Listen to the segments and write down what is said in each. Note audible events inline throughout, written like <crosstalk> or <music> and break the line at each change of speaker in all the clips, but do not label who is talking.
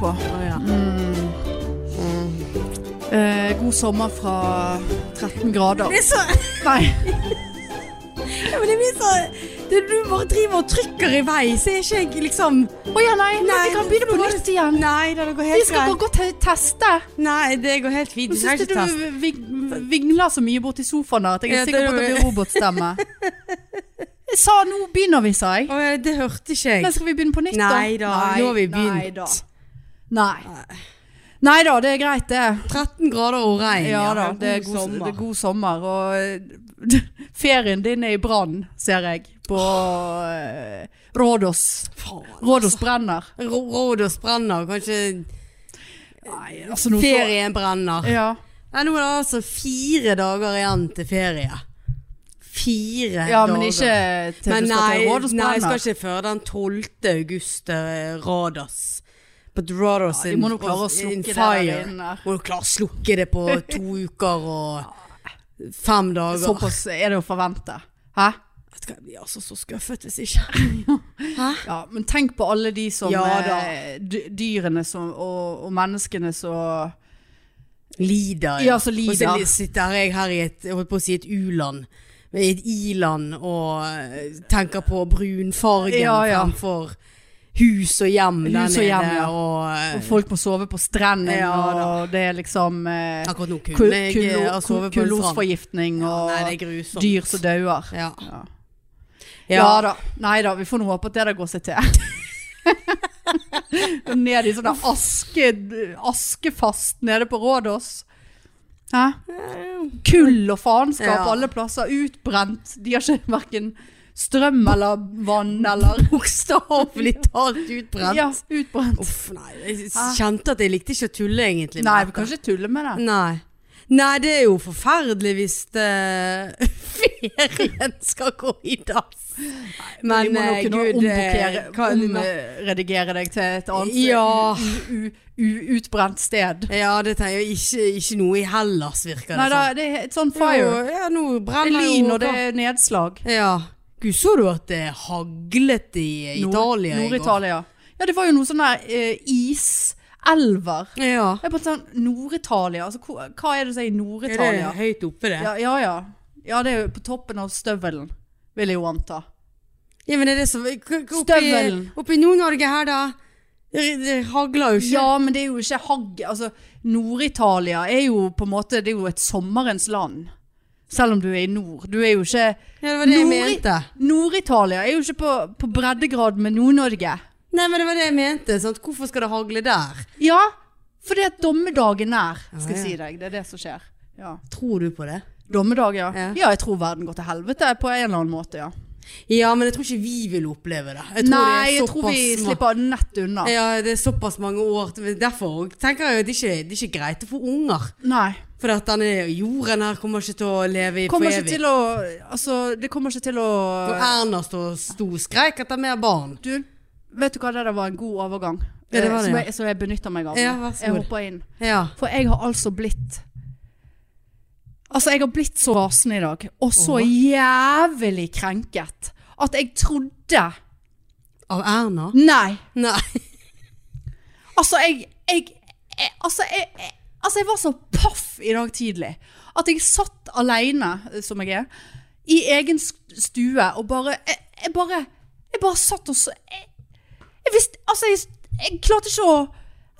på. Mm. Eh, god sommer fra 13 grader.
Det er så, <laughs>
Nei.
ja, men det blir så det, Du bare driver og trykker i vei, så er ikke jeg liksom
Å ja, nei. nei. Vi kan begynne på nytt igjen.
Nei, det går
Vi
helt
skal
greit.
bare gå og teste.
Nei, det går helt
Nå
fint. Du skal
syns
ikke
du
ta
du ving- vingler så mye borti sofaen der at jeg er
Ja,
sikker
det
på at det
gjorde
blir
<laughs>
robotstemme. Jeg sa nå begynner vi, sa jeg.
Å, ja, det hørte ikke
Men
jeg.
skal vi begynne på nytt, da?
Nei da, nå har vi begynt.
Nei da. Nei. Nei da, det er greit, det.
13 grader og regn.
Ja da, det er god, det er god sommer. Og eh, <laughs> ferien din er i brann, ser jeg. På eh, Rådås.
Faen.
Rådås brenner.
Rå- Rådås brenner, kanskje
Nei, altså nå så-
ferien brenner.
Ja.
Nei, nå er det altså fire dager igjen til ferie. Fire
ja,
dager.
men ikke til
Men
du skal
nei,
til Rådås
nei, jeg
brenner.
skal ikke før den 12. august eh, Radas. På Radas
Ja, de
in-
må nå klare å slukke
in
det der
fire.
inne.
Må jo klare å slukke det på
<laughs>
to uker og fem dager.
Såpass er det å forvente. Hæ?
Vet du hva, jeg blir altså så skuffet hvis ikke. Hæ?
Ja, men tenk på alle de som
Ja,
eh,
da.
dy- Dyrene som, og, og menneskene som
Lider.
Ja, så lider.
Og så li- sitter jeg her i et, jeg holdt på å si et u-land. men I et i-land og eh, tenker på brunfargen
Ja, ja.
fremfor hus og hjem der
Hus og hjem,
nede,
ja.
Og,
Og folk må sove på strenden,
Ja, da.
og det er liksom eh,
Akkurat nå kunne jeg eh, ha sovet på en strand.
Kulosforgiftning
Ja,
og
nei, det er grusomt.
dyr som dauer.
Ja.
Ja. Ja.
Ja,
da. Nei da, vi får nå håpe at det der går seg til. <laughs> Og ned i sånn aske, askefast nede på Rådås. Hæ?
Eh,
Kull og faenskap
Ja.
alle plasser. Utbrent. De har ikke hverken strøm eller vann
<laughs>
eller
Bokstavelig talt utbrent.
Ja, utbrent.
Uff, nei. Jeg s- kjente at jeg likte ikke å tulle, egentlig. med
Nei, vi
dette.
kan ikke tulle med det.
Nei. Nei, det er jo forferdelig hvis eh, <laughs> ferien skal gå i dass. Men
vi må nå
eh,
kunne
Gud, eh,
omrokere-
hva-
omredigere deg til et annet
Ja.
u, u, u, utbrent sted.
Ja, det tenker jeg ikke, ikke noe i Hellas, virker det
Nei da, det er et sånn fire.
Jo, ja, nå
Det er
brenner jo
lyn og det er nedslag.
Ja. Gud, så du at det haglet i eh,
Nord-
Italia i går?
Nord-Italia. Ja, det var jo noe sånn der eh, iselver.
Ja.
Jeg er på sånn Nord-Italia. Altså, hvor- hva er det du sier i
Er det
Nord-Italia?
høyt oppe, det?
Ja, ja, ja. Ja, det er jo på toppen av støvelen, vil jeg jo anta.
Ja, men er det så Støvelen.
Støvelen.
Oppi Nord-Norge her, da. Det det hagler jo ikke.
Ja, men det er jo ikke hagg... Altså, Nord-Italia er jo på en måte Det er jo et sommerens land. Selv om du er i nord. Du er jo ikke
Ja, det var det jeg
Nord-
mente.
Nord-Italia er jo ikke på, på breddegrad med Nord-Norge.
Nei, men det var det jeg mente. Sant? Hvorfor skal det hagle der?
Ja, fordi at dommedag er nær, skal jeg
Ah, ja.
si deg. Det er det som skjer. Ja.
Tror du på det?
Dommedag, ja.
Ja.
ja. jeg tror verden går til helvete på en eller annen måte, ja.
Ja, men jeg tror ikke vi vil oppleve det. Jeg tror
Nei,
det er
jeg tror vi
såpass ma-
slipper nett unna.
Ja, det er såpass mange år. til- Derfor tenker jeg at det ikke det er ikke greit å få unger.
Nei.
For at denne jorden her kommer ikke til å leve i for
Kommer ikke
evig.
til å Altså, det kommer ikke til å
Og Erna stå- sto og skreik etter mer barn.
Du, vet du hva, det der var en god overgang.
Ja, det var
eh,
det,
som,
ja.
jeg, som jeg benytter meg av. nå.
Ja, vær så
jeg
god.
hopper inn.
Ja.
For jeg har altså blitt Altså, jeg har blitt så rasende i dag, og så jævlig krenket, at jeg trodde
Av Erna?
Nei.
Nei. <laughs>
Altså, jeg, jeg, jeg, altså, jeg, jeg Altså, jeg var så paff i dag tidlig at jeg satt alene, eh, som jeg er, i egen st- stue og bare Jeg, jeg bare Jeg bare satt og så Jeg, jeg visste Altså, jeg, jeg klarte ikke å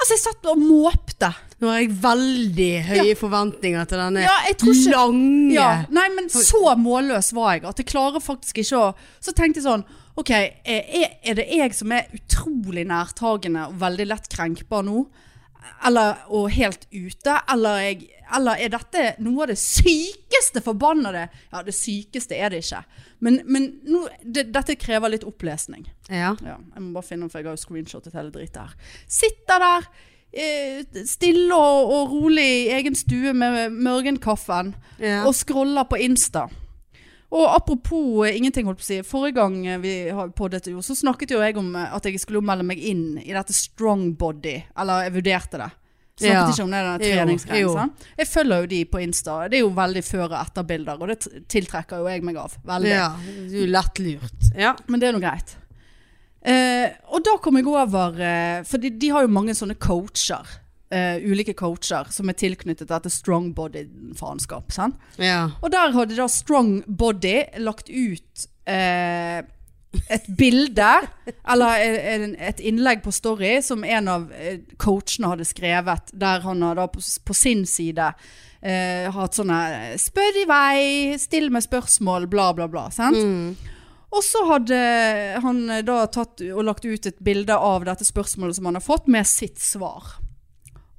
Altså, jeg satt og måpte.
Nå har jeg veldig høye forventninger til denne
Ja, jeg tror ikke-
lange
Ja, nei, men så målløs var jeg at jeg klarer faktisk ikke å Så tenkte jeg sånn Ok, er, er det jeg som er utrolig nærtagende og veldig lett krenkbar nå? Eller, og helt ute? Eller, er jeg, eller er dette noe av det sykeste forbannede Ja, det sykeste er det ikke. Men, men nå, det, dette krever litt opplesning.
Ja.
Ja, jeg må bare finne den, for jeg har jo screenshotet hele dritet her. Sitter der, eh, stille og, og rolig i egen stue med mørgenkaffen,
Ja.
og scroller på Insta. Og apropos eh, ingenting, holdt på å si. Forrige gang eh, vi har poddet jo, så snakket jo jeg om eh, at jeg skulle melde meg inn i dette strong body. Eller jeg vurderte det. Snakket
Ja.
ikke om det der
Jo, jo.
treningsgreia. Jeg følger jo de på Insta. Det er jo veldig før- og etterbilder, og det t- tiltrekker jo jeg meg av. Veldig.
ja. Du er lett lurt. Ja.
Men det er noe greit. Eh, og da kom jeg over eh, For de, de har jo mange sånne coacher. eh, ulike coacher som er tilknyttet dette strongbody-faenskap. sant?
Ja.
Og der hadde da Strongbody lagt ut eh, et bilde, eller eh, en- et innlegg på Story, som en av eh, coachene hadde skrevet, der han har da på, på sin side eh, hatt sånne 'spør i vei', 'still med spørsmål', bla, bla, bla. Sant? Og så hadde han da tatt og lagt ut et bilde av dette spørsmålet som han har fått, med sitt svar.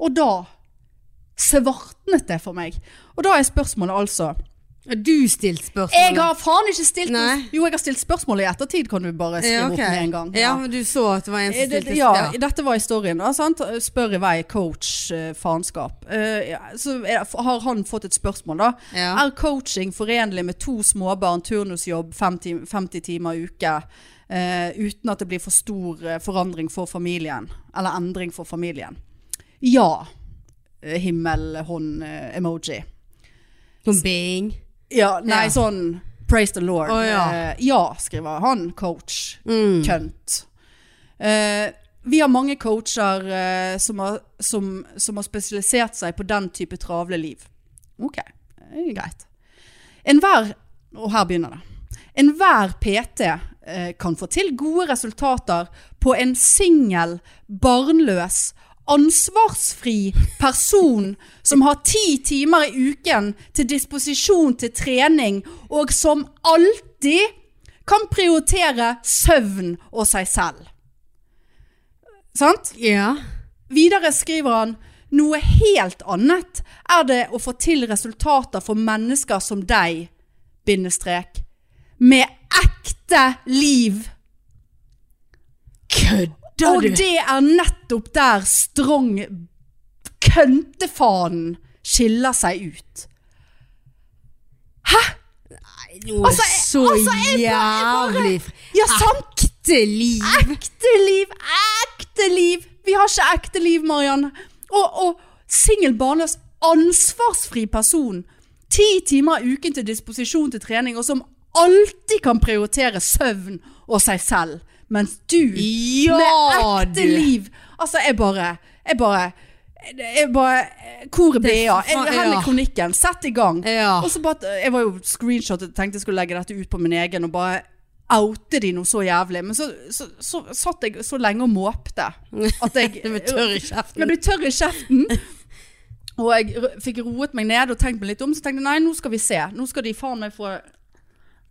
Og da svartnet det for meg. Og da er spørsmålet altså
Du stilte spørsmål.
Jeg har faen ikke stilt
Nei.
Jo, jeg har stilt spørsmålet i ettertid, kan du bare skrive
ja, ok.
opp med en gang.
Ja, men du så at det var en som
Eh, det-
stilte
ja, dette var historien da, sant? Spør i vei, coach, eh, faenskap. Eh, ja, så er, har han fått et spørsmål da.
Ja.
Er coaching forenlig med to småbarn, turnusjobb, 50, 50 timer i uke, eh, uten at det blir for stor eh, forandring for familien? Eller endring for familien? Ja. Eh, Himmelhånd-emoji.
Sånn bing.
Ja, nei,
Ja.
sånn Praise the Lord.
Å, ja. Mm.
Eh, ja, skriver han, coach. Kønt. Eh, vi har mange coacher eh, som, har, som, som har spesialisert seg på den type travle liv. Ok, det er greit. Enhver Og her begynner det. Enhver PT eh, kan få til gode resultater på en singel, barnløs, ansvarsfri person som har ti timer i uken til disposisjon til trening, og som alltid kan prioritere søvn og seg selv. Sant?
Ja.
Videre skriver han Noe helt annet er det å få til resultater for mennesker som deg, bindestrek, med ekte liv.
Kødder
Og det er nettopp der strong køntefanen skiller seg ut.
Altså, jeg, så
altså, jeg bare-
jævlig fr-
Ja, sant!
Ekte liv.
Ekte liv! Ekte liv! Vi har ikke ekte liv, Marianne. Og, og singel barnløs, ansvarsfri person. Ti timer i uken til disposisjon til trening, og som alltid kan prioritere søvn og seg selv. Mens du med ekte liv. Altså, jeg bare Jeg bare jeg bare, Hvor er BA?
faen-
Her
ja.
er kronikken. Sett i gang.
Ja.
Og så bare, jeg var jo screenshotet og tenkte jeg skulle legge dette ut på min egen og bare oute de noe så jævlig. Men så, så, så, satt jeg så lenge og måpte at jeg
<laughs> Du blir tørr i kjeften.
jeg ble tørr i kjeften. Og jeg r- fikk roet meg ned og tenkt meg litt om. Så tenkte jeg nei, nå skal vi se. Nå skal de faen meg få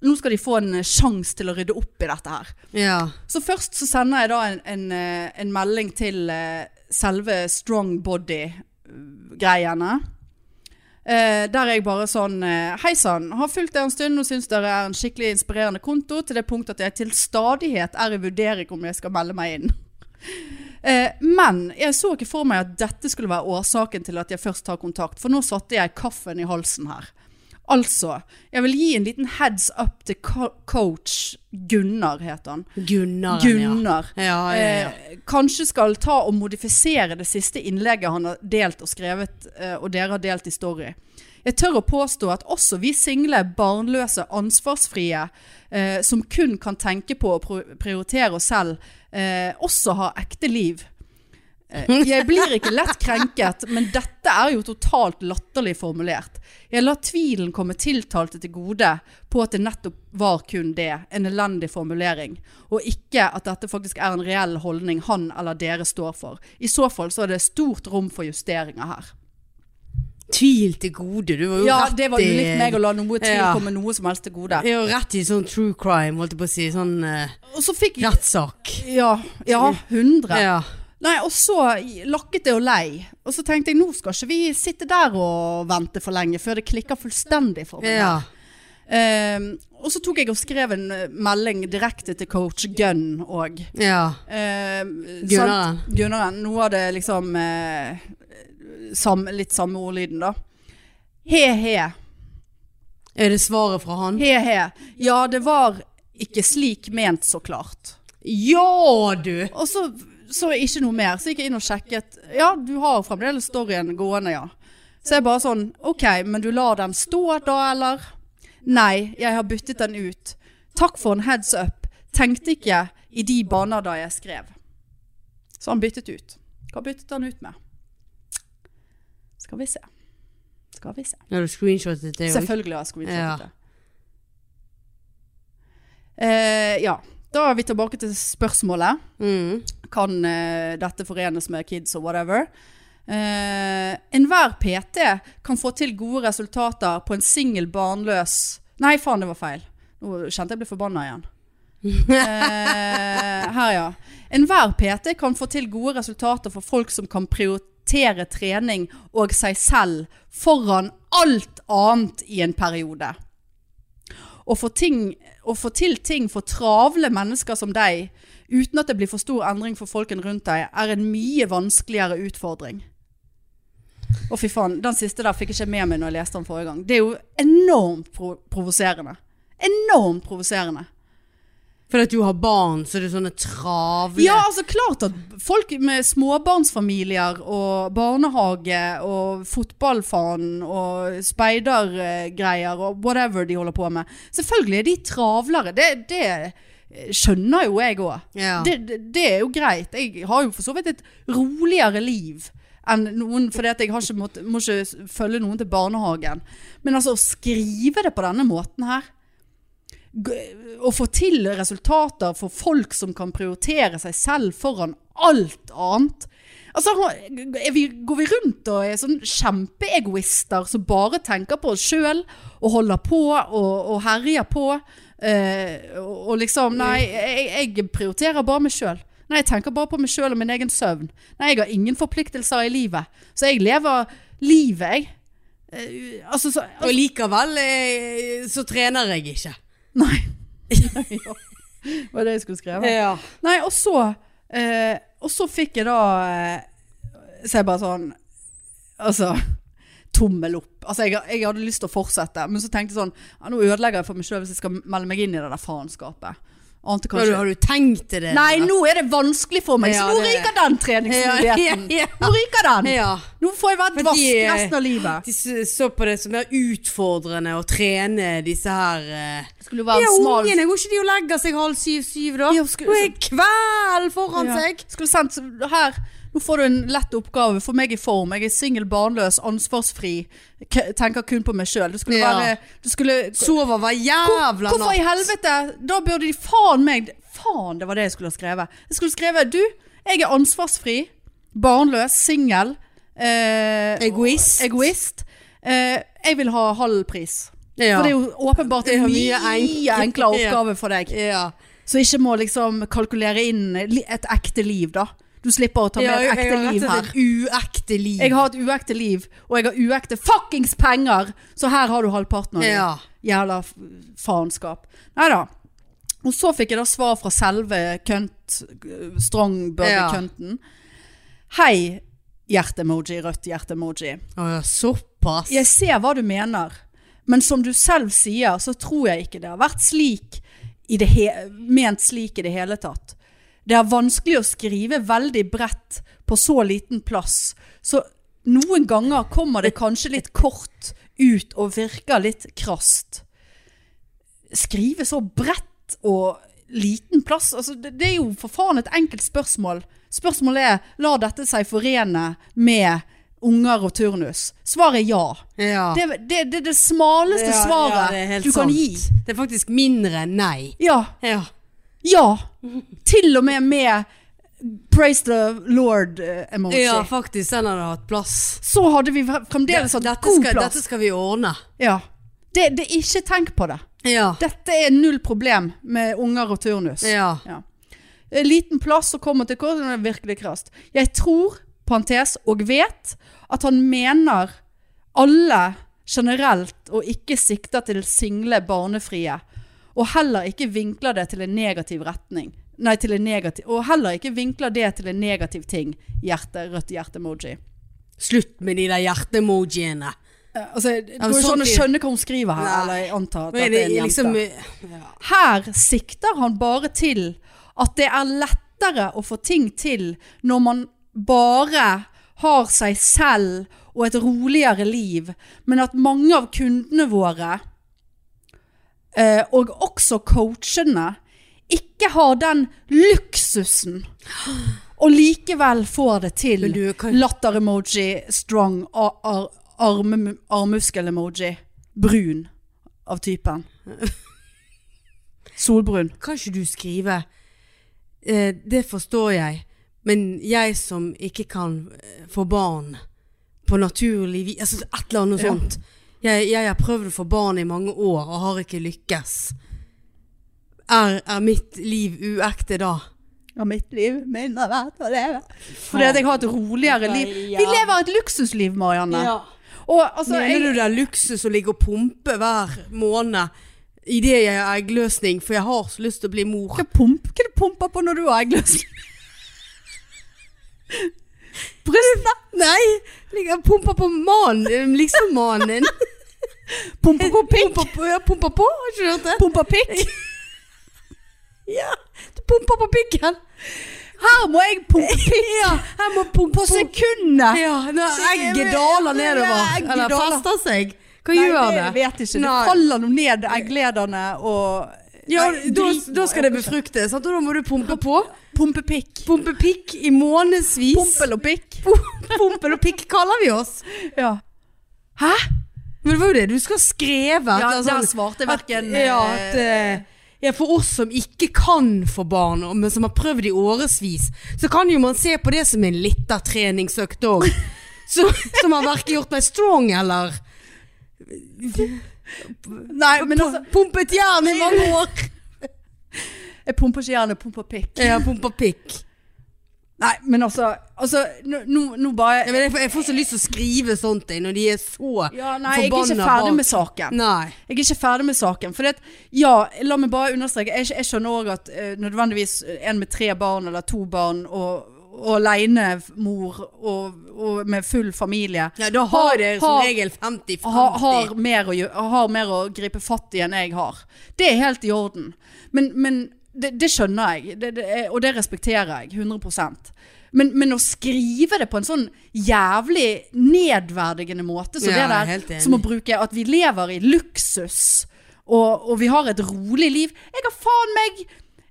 Nå skal de få en eh, sjanse til å rydde opp i dette her.
Ja.
Så først så sender jeg da en, en, eh, en melding til eh, selve strong body-greiene. Eh, der er jeg bare sånn eh, Hei sann, har fulgt dere en stund og syns dere er en skikkelig inspirerende konto, til det punkt at jeg til stadighet er i vurdering om jeg skal melde meg inn. <laughs> Eh, men jeg så ikke for meg at dette skulle være årsaken til at jeg først tar kontakt, for nå satte jeg kaffen i halsen her. Altså, jeg vil gi en liten heads up til co coach Gunnar, heter han.
Gunnar.
Gunnar.
Ja, ja, ja. ja.
Eh, kanskje skal ta og modifisere det siste innlegget han har delt og skrevet, eh, og dere har delt i story. Jeg tør å påstå at også vi single, barnløse, ansvarsfrie, eh, som kun kan tenke på å pro- prioritere oss selv, eh, også har ekte liv. Eh, Jeg blir ikke lett krenket, men dette er jo totalt latterlig formulert. Jeg lar tvilen komme tiltalte til gode på at det nettopp var kun det, en elendig formulering, og ikke at dette faktisk er en reell holdning han eller dere står for. I så fall så er det stort rom for justeringer her.
Tvil til gode. Du var jo
Ja,
rett
det var
i-
ulikt meg å la noe tvil
Ja.
komme noe som helst til gode.
Ja, rett i sånn true crime, holdt jeg på å si. Sånn eh,
Og så fikk
rettssak.
Ja, ja 100.
Ja.
Nei, og så lakket det og lei. Og så tenkte jeg, nå skal ikke vi sitte der og vente for lenge før det klikker fullstendig for meg.
ja.
Ehm, og så tok jeg og skrev en eh, melding direkte til coach Gunn og
ja.
Ehm,
Gunnaren.
sant? Gunnaren. Nå var det liksom eh, sam, litt samme ordlyden, da. He-he.
Er det svaret fra han?
He-he. Ja, det var ikke slik ment, så klart.
Ja, du!
Og så så jeg ikke noe mer. Så gikk jeg inn og sjekket. Ja, du har fremdeles storyen gående, ja. Så jeg bare sånn OK, men du lar den stå da, eller? Nei, jeg har byttet den ut. Takk for en heads up. Tenkte ikke i de baner da jeg skrev. Så han byttet ut. Hva byttet han ut med? Skal vi se. Skal vi se.
Når du screenshotet det jo.
Selvfølgelig har jeg
Ja.
screenshottet det. Eh, ja. Da er vi tilbake til spørsmålet.
Mm.
Kan eh, dette forenes med kids og whatever? Eh, Enhver PT kan få til gode resultater på en singel barnløs Nei, faen, det var feil. Nå kjente jeg ble forbanna igjen. Eh, her, ja. Enhver PT kan få til gode resultater for folk som kan prioritere trening og seg selv foran alt annet i en periode. Å få, ting, å få til ting for travle mennesker som deg, uten at det blir for stor endring for folken rundt deg, er en mye vanskeligere utfordring. Å, fy faen. Den siste der fikk jeg ikke med meg når jeg leste den forrige gang. Det er jo enormt pro provoserende. Enormt provoserende.
For at du har barn, så er det sånne travle
Ja, altså klart at folk med småbarnsfamilier og barnehage og fotballfaen og speidergreier og whatever de holder på med. Selvfølgelig er de travlere. Det, det skjønner jo jeg òg.
Ja.
Det, det, det er jo greit. Jeg har jo for så vidt et roligere liv enn noen, fordi at jeg har ikke mått, må ikke følge noen til barnehagen. Men altså, å skrive det på denne måten her g- Å få til resultater for folk som kan prioritere seg selv foran alt annet. Altså, har- er vi, går vi rundt og er sånn kjempeegoister som bare tenker på oss sjøl og holder på og, og herjer på? eh, og, og liksom Nei, jeg, jeg prioriterer bare meg sjøl. Nei, jeg tenker bare på meg sjøl og min egen søvn. Nei, jeg har ingen forpliktelser i livet. Så jeg lever livet, jeg. Eh, altså, så,
Og likevel eh, så trener jeg ikke.
Nei. var det jeg skulle skrive.
Ja.
Nei, og så eh, Og så fikk jeg da eh, Så jeg bare sånn Altså Tommel opp. Altså, jeg, jeg hadde lyst til å fortsette, men så tenkte jeg sånn ja, Nå ødelegger jeg for meg sjøl hvis jeg skal melde meg inn i det der faenskapet. Ante
Har du,
kanskje
har du tenkt til det?
Nei, nå er det vanskelig for meg,
Ja,
så nå
det er det.
ryker den treningsmuligheten.
<laughs> Ja, ja, ja.
Nå ryker den.
Ja.
Nå får jeg være
Fordi- eh,
dvask resten av livet.
De s- så på det som mer utfordrende å trene disse her eh.
Det skulle være
Ja,
en smal
ungene, går ikke de og legger seg halv syv-syv da?
Ja,
Ja,
skulle-
og er kveld foran
Ja.
seg.
Skulle sendt så her Nå får du en lett oppgave. Få meg i form. Jeg er singel, barnløs, ansvarsfri. K tenker kun på meg sjøl. Du skulle
Ja.
være du skulle,
Sover hver jævla
Hvorfor i helvete? Da burde de faen meg Faen, det var det jeg skulle ha skrevet. Jeg skulle skrevet Du, jeg er ansvarsfri, barnløs, singel. Eh,
Egoist.
egoist. Eh, jeg vil ha halv pris.
Ja.
For det er jo åpenbart en
Det
mye,
er mye enk-
enklere
Ja.
oppgave for deg.
ja.
Så ikke må liksom kalkulere inn li- et ekte liv da Du slipper å ta med
Ja,
et
jeg har
ekte
rett
liv
og
her
slett uekte liv.
Jeg har et uekte liv Og jeg har uekte fuckings penger Så her har du halvparten av det
Ja.
Jævla f- faenskap Neida Og så fikk jeg da svar fra selve kønt Strong Børge
Ja.
kønten Hei Hjerte-emoji, rødt hjerte-emoji
Å ja, såpass.
jeg ser hva du mener, men som du selv sier, så tror jeg ikke det har vært slik i det he ment slik i det hele tatt. Det er vanskelig å skrive veldig bredt på så liten plass, så noen ganger kommer det kanskje litt kort ut og virker litt krast. Skrive så bredt og liten plass, altså det, det er jo for faen et enkelt spørsmål. Spørsmålet er, la dette seg forene med unger og turnus? Svaret er ja.
ja.
Det er det, det, er det smaleste
Ja, ja,
svaret
det er helt
du kan
sant.
gi.
Det er faktisk mindre enn nei.
Ja.
Ja. <laughs>
Ja. Til og med med Praise the Lord-emoji.
ja, faktisk. Den hadde hatt plass.
Så hadde vi fremdeles hatt
Dette
god
skal,
plass.
dette skal vi ordne.
Ja. Det, det, ikke tenk på det.
Ja.
Dette er null problem med unger og turnus.
ja.
Ja. En Liten plass og kommer til kort, det er virkelig krast. Jeg tror, parentes, og vet at han mener alle generelt og ikke sikter til single barnefrie, og heller ikke vinkler det til en negativ retning. Nei, til en negativ, og heller ikke vinkler det til en negativ ting. Hjerte, rødt hjerte-emoji.
Slutt med de der hjerte-emojiene.
Eh, Altså, det går
men
jo ikke an å
sånn-
skjønne hva hun skriver her,
Nei.
eller jeg antar at
Men
dette er en jente.
liksom
Her sikter han bare til at det er lettere å få ting til når man bare har seg selv og et roligere liv, men at mange av kundene våre, eh, og også coachene, ikke ikke har den luksusen. Og likevel får det til
Men du kan-
latter-emoji, strong, ar ar arme- armmuskel-emoji, brun av typen. Solbrun.
Kan ikke du skrive eh, Det forstår jeg, men jeg som ikke kan eh, få barn på naturlig vis altså Et eller annet
Ja.
sånt. Jeg, jeg har prøvd å få barn i mange år og har ikke lykkes. Er, er mitt liv uekte da?
Ja, mitt liv mindre verdt å leve. Fordi at jeg har et roligere liv. Vi lever et luksusliv, Marianne. Og altså,
Mener
jeg,
du det er luksus å ligge og pumpe hver måned idet jeg har eggløsning, for jeg har så lyst til å bli mor?
Hva pump, hva du pumper på når du har eggløsning? Brystene.
Nei! Ligger og pumper på mannen, liksom mannen din.
<laughs> Pumper på pikk.
Pumper på, ja, pumper på, har ikke du hørt det?
Pumper pikk.
Ja, du pumper på
<laughs>
pikken.
Her må jeg pumpe pikk
Ja, jeg må pumpe
på sekundet.
Ja, når egget daler nedover.
Ja, egget
Eller
daler.
fester seg. Hva
Nei,
gjør det?
det vet jeg ikke. Det
Nei.
faller noe ned egglederne og
Ja,
Nei,
da,
drit-
da skal det befruktes, sant? og da må du pumpe på.
Pumpe pikk.
Pumpe pikk i månedsvis.
Pumpel og pikk.
Pumpel og pikk kaller vi oss.
Ja.
Hæ? Men det var jo det du skal skrive.
Ja,
at det er
der svarte hverken,
at, ja, at, eh, ja, for oss som ikke kan få barn, og- men som har prøvd i årevis, så kan jo man se på det som en lita treningsøkt òg.
<laughs>
Som har verken gjort meg strong eller
Nei, men altså
pumpet jern i mange år.
Jeg pumper ikke gjerne, jeg pumper pikk.
Ja, pumpa pikk.
Nei, men altså, altså nå, nå- nå
Ja,
bare
men jeg, får, jeg får så lyst til å skrive sånt jeg, når de er så
ja, Nei, jeg er ikke
forbanna
ferdig
bak.
med saken.
Nei.
Jeg er ikke ferdig med saken. For det, at- ja, la meg bare understreke. Jeg, jeg skjønner òg at eh, nødvendigvis en med tre barn eller to barn og, og alenemor og, og med full familie
Ja, da har dere som
Har-
regel 50-50.
har, har, mer å, gjø- har mer å gripe fatt i enn jeg har. Det er helt i orden. Men, men det, det skjønner jeg, det, det, er- og det respekterer jeg 100 men, men å skrive det på en sånn jævlig nedverdigende måte som
Ja, jeg er
det
helt
der,
enig.
som å bruke at vi lever i luksus, og, og vi har et rolig liv Jeg har faen meg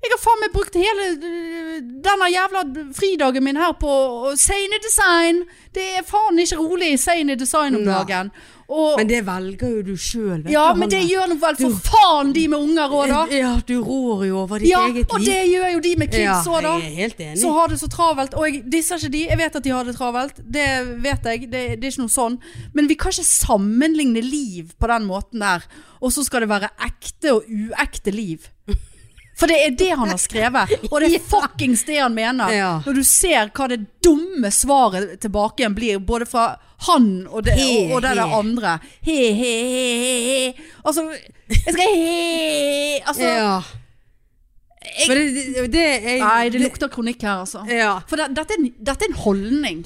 jeg har faen meg brukt hele øh, denne jævla fridagen min her på å- Sane Design. Det er faen ikke rolig i Sane Design om
Nei.
dagen. Og,
Men det velger jo du sjøl.
ja, men det gjør nå vel for faen de med unger òg, da.
Ja, du rår jo over ditt
Ja,
eget
og
liv.
det gjør jo de med kids òg, da.
Ja, jeg er helt enig.
Så har det så travelt. Og jeg disser ikke de. Jeg vet at de har det travelt. Det vet jeg. Det, det er ikke noe sånn. Men vi kan ikke sammenligne liv på den måten der. Og så skal det være ekte og uekte liv. For det er det han har skrevet. Og
<laughs>
det er fuckings det han mener.
Ja.
Når du ser hva det dumme svaret tilbake igjen blir, både fra han og det,
He,
og, og det der
he.
andre. He, he, he, he, he. Altså, jeg skal he Altså,
ja. Men det, det, det er
nei, det lukter kronikk her, altså.
Ja.
For det, dette, er en, dette er en holdning.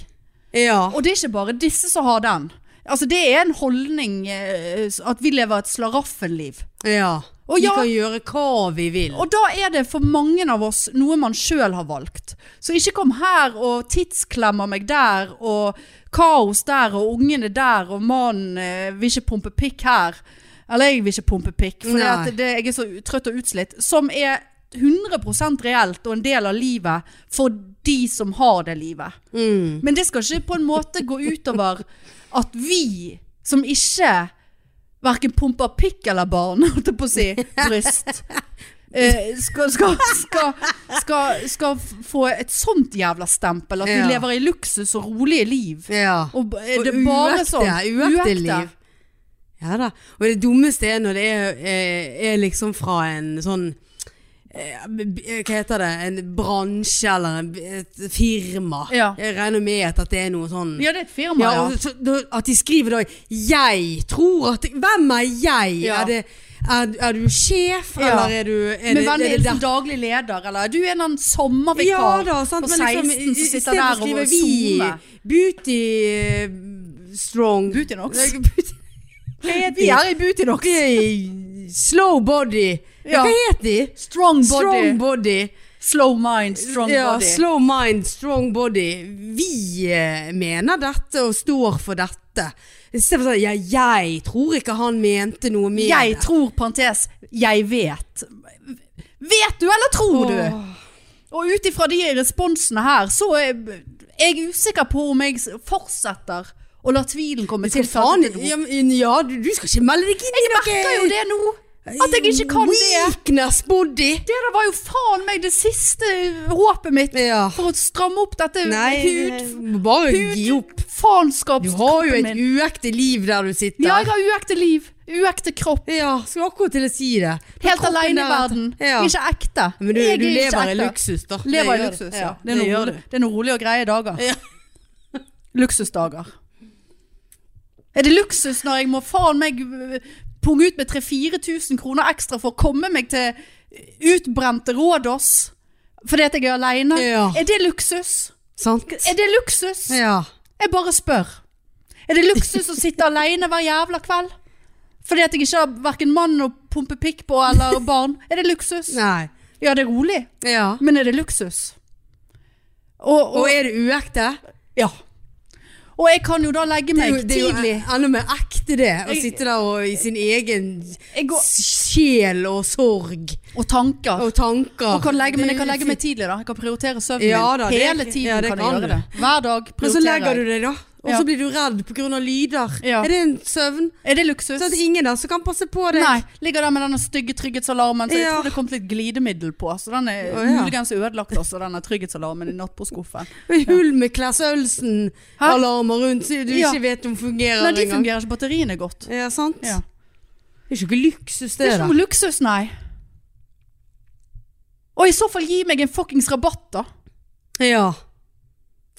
ja.
Og det er ikke bare disse som har den. Altså Det er en holdning eh, at vi lever et slaraffenliv.
ja.
Og
Vi
ja-
kan gjøre hva vi vil.
Og da er det for mange av oss noe man sjøl har valgt. Så ikke kom her og tidsklemmer meg der, og kaos der, og ungene der, og mannen eh, vil ikke pumpe pikk her. Eller jeg vil ikke pumpe pikk, for
Nei.
det, jeg er så trøtt og utslitt. Som er 100 reelt og en del av livet for de som har det livet.
Mm.
Men det skal ikke på en måte gå utover at vi som ikke hverken pumper pikk eller barn, <laughs> holdt jeg på å si,
<laughs>
bryst, eh, skal, skal, skal, skal, skal få et sånt jævla stempel. At vi
Ja.
lever i luksus og rolige liv.
Ja.
Og b- er
Og
det bare sånn?
Uekte liv. Ja da. Og det dummeste er når det er, er, er liksom fra en sånn eh, b- hva heter det? En bransje eller en, b- et firma.
Ja.
Jeg regner med at det er noe sånn
Ja, det er et firma,
Ja,
ja.
og så, da- at de skriver da 'Jeg tror at Hvem er jeg?'
Ja.
Er, det, er, er du sjef,
Ja.
eller er du er
Men
det-
hvem
er
er
det
liksom daglig leder, eller? Du er en eller annen sommervikar
da, sant,
på
men
16
liksom, i- i
som sitter
stedet
der
skriver
og zoomer.
Vi Beauty eh, Strong
Beautynox.
Nei, beauty- Hva heter
Vi
de?
er i Butinox.
Ok, Slow Body.
Ja.
Hva heter de?
Strong body.
Strong Body.
Slow mind, strong
ja,
body.
Slow mind, strong body. Vi eh, mener dette og står for dette. Istedenfor sånn ja, 'Jeg tror ikke han mente noe med
Jeg
det'.
tror, parentes, jeg vet. Vet du, eller tror du?
Åh.
Og ut ifra de responsene her, så er jeg usikker på om jeg s- fortsetter å la tvilen komme til.
Til faen, ja, men- ja du, du skal ikke melde deg inn i
Jeg merker jo det nå! At jeg ikke kan det.
Weakness body.
Det der var jo faen meg det siste håpet mitt
Ja.
for å stramme opp dette
Nei,
hud...
det- bare gi opp. Du har jo
Faenskapskroppen
et
min.
uekte liv der du sitter.
Ja, jeg har uekte liv. Uekte kropp.
Ja, skulle akkurat til å si det. Du har
Helt
kroppen
aleine i
der.
verden.
Ja.
Ikke ekte.
Men du,
Jeg er
du
ikke
lever i
ekte.
luksus, da.
Lever
Det
i
gjør
luksus,
du.
ja. Det
Det,
er noe,
gjør
rolig,
du.
det er noe rolig og greie dager.
Ja.
<laughs> Luksusdager. Er det luksus når jeg må faen meg øh, punge ut med 3000-4000 kroner ekstra for å komme meg til utbrente Rådås? Fordi at jeg er aleine?
Ja.
Er det luksus?
Sant?
Er det luksus?
Ja.
Jeg bare spør. Er det luksus å
<laughs>
sitte alene hver jævla kveld? Fordi at jeg ikke har hverken mann å pumpe pikk på eller barn. Er det luksus?
Nei.
Ja, det er rolig.
Ja.
Men er det luksus? Og, og,
Og er det uekte?
ja. Og jeg kan jo da legge
Det
meg
er jo, det er
tidlig.
jo enda mer ekte det, å
Jeg-
sitte der og, i sin egen
Jeg går,
sjel og sorg
og tanker.
og tanker.
Og kan legge, men jeg kan
Det-
legge meg tidlig, da. Jeg kan prioritere søvnen
Ja da,
min.
det-
Hele tiden
ja, det
kan jeg
kan
gjøre
du.
det. Hver dag
Men så legger
prioriterer
du
jeg.
deg da, og
Ja.
så blir du redd pga. lyder.
Ja.
Er det en søvn?
Er det luksus?
Sånn at ingen der som kan passe på deg.
Nei. Ligger der med denne stygge trygghetsalarmen. Så jeg
Ja.
tror det er kommet litt glidemiddel på. Så den er
Å, ja.
muligens ødelagt også, denne trygghetsalarmen i nattbordskuffen.
Med hull med Klass Olsen-alarmer rundt som du
Ja.
ikke vet om fungerer
Nei, de
engang.
fungerer ikke. Batteriene er godt.
Ja, sant?
Ja.
Det er jo ikke noe
Det
luksus, det,
er ikke
da.
noe luksus, nei. Og i så fall gi meg en fuckings rabatt, da.
Ja.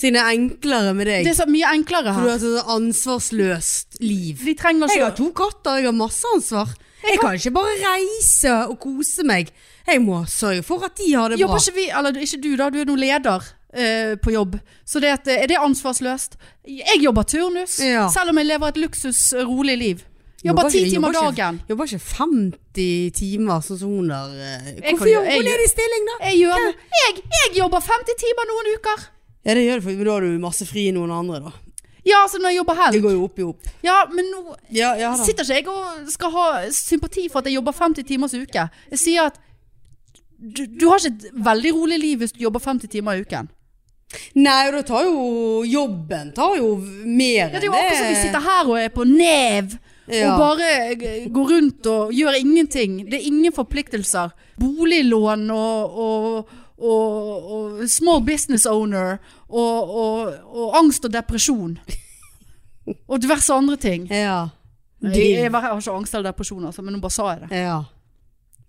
Siden det er enklere med deg.
Det er så mye enklere
For du
her.
har et sånt ansvarsløst liv.
Vi trenger
Jeg
ikke
har to katter, jeg har masse ansvar. Jeg kan ikke bare reise og kose meg. Jeg må sørge for at de har det bra.
Jobber ikke vi, eller ikke du da, du er nå leder eh, på jobb. Så det at, eh, er det ansvarsløst? Jeg jobber turnus,
Ja.
selv om jeg lever et luksus, eh, rolig liv.
Jobber
Jobber ti
ikke-
timer
jobber ikke-
dagen.
Jobber ikke 50 timer sånn som hun der. eh,
Jeg
Hvorfor
kan jo-
jobber hun
jeg-
ledig stilling, da?
Jeg, gjør, jeg, jeg jobber 50 timer noen uker.
Ja, det gjør det, for men da har du masse fri enn noen andre, da.
Ja, altså når jeg jobber
Det
helg.
går jo opp i opp.
Ja, men nå
Ja, ja da.
sitter ikke jeg og skal ha sympati for at jeg jobber 50 timers uke. Jeg sier at du, du har ikke et veldig rolig liv hvis du jobber 50 timer i uken.
Nei, og da tar jo jobben tar jo mer enn
Ja, det er jo akkurat som vi sitter her og er på nev
Ja.
og bare eh, går rundt og gjør ingenting. Det er ingen forpliktelser. Boliglån og, og, og, og small business owner og, og, og angst og depresjon. Og diverse andre ting.
Ja.
Jeg, jeg har ikke angst eller depresjon, altså, men nå bare sa jeg det.
Ja.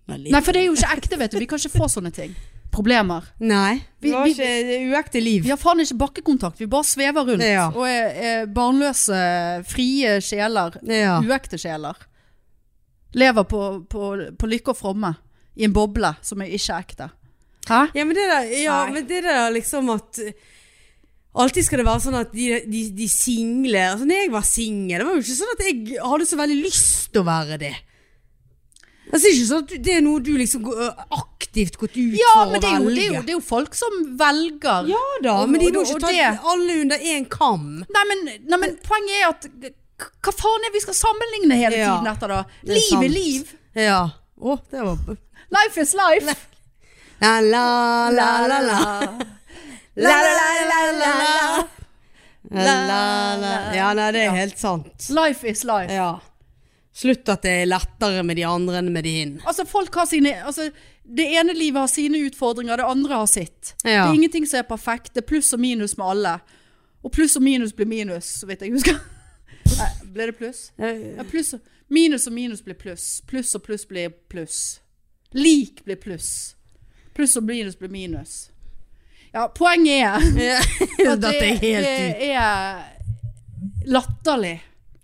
Veldig.
Nei, for det er jo ikke ekte, vet du. Vi kan ikke få sånne ting. Problemer.
Nei.
Vi-
Vi har
vi-
ikke det er uekte liv.
Vi har faen ikke bakkekontakt. Vi bare svever rundt
Ja.
og er, er barnløse, frie sjeler.
Ja.
uekte sjeler. Lever på, på, på lykke og fromme i en boble som er ikke ekte. Hæ?
Ja, men det der, ja,
Nei.
men det der liksom at eh, Alltid skal det være sånn at de, de, de single altså, Når jeg var singel, det var jo ikke sånn at jeg hadde så veldig lyst til å være det. Altså, det er ikke sånn at du- det er noe du liksom går, ø, aktivt gått ut
Ja,
for å
men det er, jo, det, er jo,
velge.
det er jo folk som velger.
Ja da,
Og-
men de
og-
må
og
ikke ta
det-
alle under én kam.
Nei, men, nei, men poenget er at k- hva faen er vi skal sammenligne hele
Ja.
tiden etter da?
er
Liv
sant.
er liv.
Ja. Å, det var
Life is life.
La, la, la, la, la. La, la, la, la, la, la. La, la, la. Ja, nei, det er helt
<laughs>
sant.
Life is life.
Ja. Slutt at det er lettere med de andre enn med din.
Altså, folk har sine altså, Det ene livet har sine utfordringer, det andre har sitt.
Ja.
Det er ingenting som er perfekt. Det er pluss og minus med alle. Og pluss og minus blir minus, så vidt jeg
<laughs>
husker. Nei, ble det pluss? Ja, pluss og, minus og minus blir pluss. Pluss og pluss blir pluss. Lik blir pluss. Pluss og minus blir minus. Ja, poenget
<laughs>
er <laughs> at
Dette er helt ut.
det er latterlig.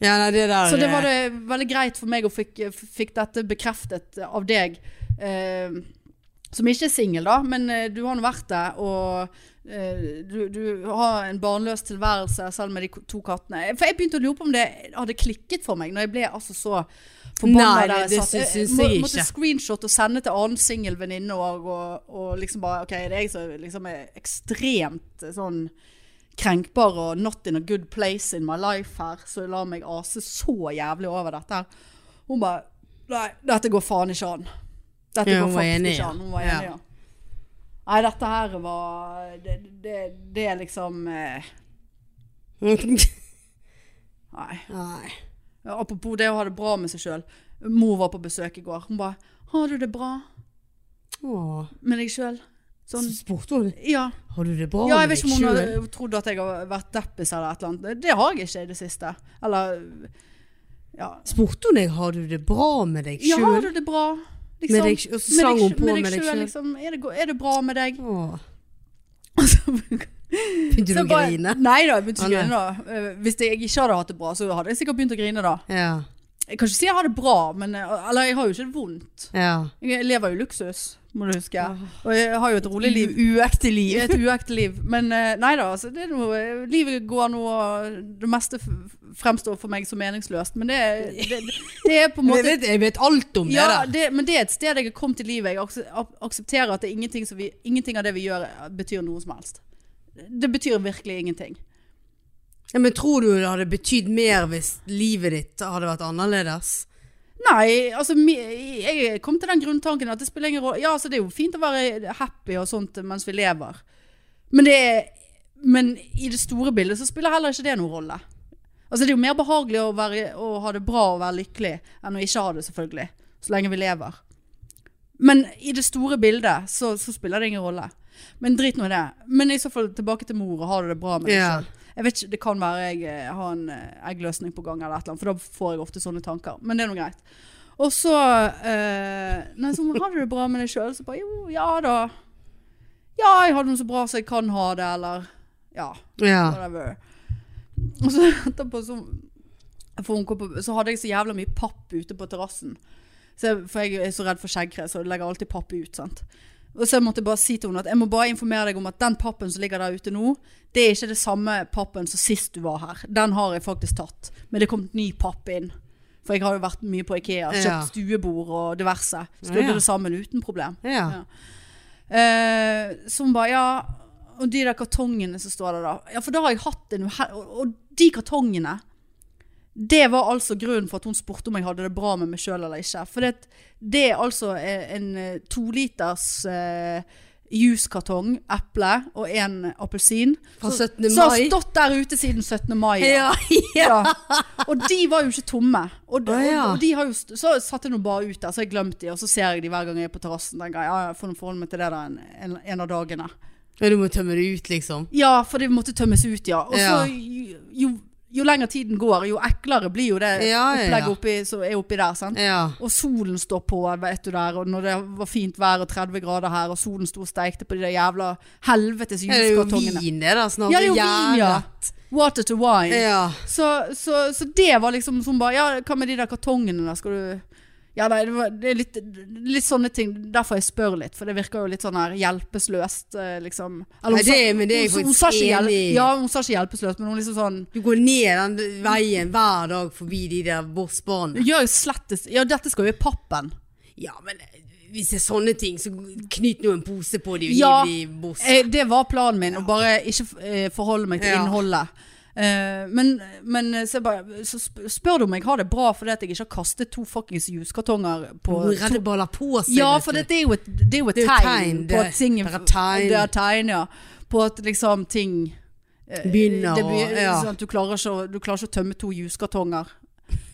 Ja, nei, det der
Så det var det veldig greit for meg å fikk, fikk dette bekreftet av deg. Eh, som ikke er singel, da, men eh, du har nå vært det. Og eh, du, du har en barnløs tilværelse selv med de ko- to kattene. For jeg begynte å lure på om det hadde klikket for meg når jeg ble altså så
Nei,
forbanna der
det
jeg satt.
sy- syns
må,
jeg
måtte
ikke.
screenshot og sende til annen singel venninne og, og, og liksom bare OK, det er jeg som liksom er ekstremt sånn krenkbar og not in a good place in my life her, så la meg ase så jævlig over dette her. Hun bare Nei, dette går faen ikke an. Dette
Ja,
går
hun var
faktisk
enig,
ikke
ja.
an. Hun var
Ja.
enig, ja. Nei, dette her var Det, det, det er liksom eh, Nei.
<laughs> Nei.
Apropos det å ha det bra med seg sjøl. Mor var på besøk i går. Hun bare 'Har du det bra
Åh.
med deg sjøl?' Sånn.
Så spurte hun
Ja.
Har du det bra
ja, jeg
med
vet ikke om
deg
hun
sjøl?
hadde trodd at jeg har vært deppis eller et eller annet. Det har jeg ikke i det siste. Eller Ja.
Spurte hun deg har du det bra med deg
ja liksom. har
sjøl?
du det bra? liksom?
Med deg- og så sang hun på med deg
selv,
selv.
Liksom, er, det, go- er det bra med
<laughs>
deg? <laughs>
Begynte du å
Så bare-
grine?
Nei da, jeg begynte
Å,
ikke å
nei.
grine da. Eh, Hvis jeg ikke hadde hatt det bra, så hadde jeg sikkert begynt å grine da.
Ja.
Jeg kan ikke si jeg har det bra, men eh, Eller jeg har jo ikke det vondt.
ja.
Jeg lever jo luksus, må du huske. Og jeg har jo et rolig
<laughs>
liv. Uekte liv. Et uekte liv. Men eh, nei da, altså, det er noe, livet går nå og Det meste f- fremstår for meg som meningsløst, men det, er- det, det er
<laughs>
på en
Jeg
måte
vet, jeg vet alt om
ja,
det der.
det, men det er et sted jeg har kommet i livet. Jeg akse- ak- aksepterer at det er ingenting, som vi, ingenting av det vi gjør, eh, betyr noe som helst. Det betyr virkelig ingenting.
Ja, men tror du det hadde betydd mer hvis livet ditt hadde vært annerledes?
Nei, altså mi- jeg kom til den grunntanken at det spiller ingen rolle. Ja, altså det er jo fint å være happy og sånt mens vi lever. Men, det er, men i det store bildet så spiller heller ikke det noen rolle. Altså det er jo mer behagelig å, være, å ha det bra og være lykkelig enn å ikke ha det selvfølgelig. Så lenge vi lever. Men i det store bildet så, så spiller det ingen rolle. Men drit nå i det. Men i så fall tilbake til mor og ha det bra med deg
Ja.
selv. Jeg vet ikke, Det kan være jeg eh, har en eh, eggløsning på gang, eller et eller annet, for da får jeg ofte sånne tanker. Men det er nå greit. Og så eh, Nei, så har du det bra med deg sjøl? Så bare jo, ja da. Ja, jeg har det nå så bra så jeg kan ha det, eller Ja.
Ja.
Whatever. Og så etterpå så for hun kom på, Så hadde jeg så jævla mye papp ute på terrassen. Så jeg- For jeg er så redd for skjeggkre, så jeg legger alltid papp ut. sant? Og så måtte jeg bare si til henne at jeg må bare informere deg om at den pappen som ligger der ute nå, det er ikke det samme pappen som sist du var her. Den har jeg faktisk tatt. Men det kom ny papp inn. For jeg har jo vært mye på Ikea, kjøpt
Ja.
stuebord og diverse. Skrudde
Ja, ja.
det sammen uten problem.
ja.
Ja. Eh, så hun bare, ja Og de der kartongene som står der da Ja, for da har jeg hatt en uhell og, og de kartongene Det var altså grunnen for at hun spurte om jeg hadde det bra med meg selv eller ikke For det, det er altså en, en eh, to liters eh, Juskartong, eple og en appelsin
Fra
Så-
17.
Så har
mai.
stått der ute siden 17. mai ja.
Ja, ja.
Ja. Og de var jo ikke tomme. Og,
Å, ja.
og, og de har jo, st- så satt jeg nå bare ut der, så har jeg glemt de, og så ser jeg de hver gang jeg er på terrassen. Tenker jeg, ja, jeg får nå forholde meg til det da en, en, en av dagene.
Ja, du må tømme det ut, liksom.
Ja, for det måtte tømmes ut, ja. Og så
Ja.
jo, jo, jo lenger tiden går, jo eklere blir jo det
Ja, ja, ja.
opplegget oppi, som er oppi der, sant?
Ja.
Og solen står på, vet du der, og når det var fint vær og 30 grader her, og solen sto og steikte på de der jævla helvetes
Ja, det er jo
juskartongene.
vin det da, snart.
Ja, det er jo vin, ja.
Gjæret.
Water to wine.
Ja.
Så, så, så det var liksom sånn bare Ja, hva med de der kartongene der, skal du Ja, nei, det, var, det er litt, litt sånne ting. Derfor jeg spør litt, for det virker jo litt sånn her hjelpeløst, eh, liksom. Eller,
Nei, det, men det er jeg
hun, hun sa
faktisk
ikke
enig i.
hjel- Ja, hun sa ikke hjelpeløst, men hun liksom sånn
Du går ned den veien hver dag forbi de der
Du
bossbarna.
gjør jo slettes Ja, dette skal jo i pappen.
Ja, men eh, hvis det er sånne ting, så knyt nå en pose på de og
Ja.
hiv de i boss.
Eh, det var planen min, å bare ikke eh, forholde meg til
Ja.
innholdet. Eh, men men så, jeg bare, så sp- spør du om jeg har det bra fordi at jeg ikke har kastet to fuckings juskartonger på
Hvor
to
redde baller på seg.
Ja,
vet
for
du.
det, det er jo et, det er jo et
Det er jo
tegn,
tegn,
på
det-
at ting
det er tegn.
Det er tegn, ja. På at liksom ting
eh, begynner
det
å
blir-
ja.
sånn at du, klarer ikke, å- du klarer ikke å tømme to juskartonger.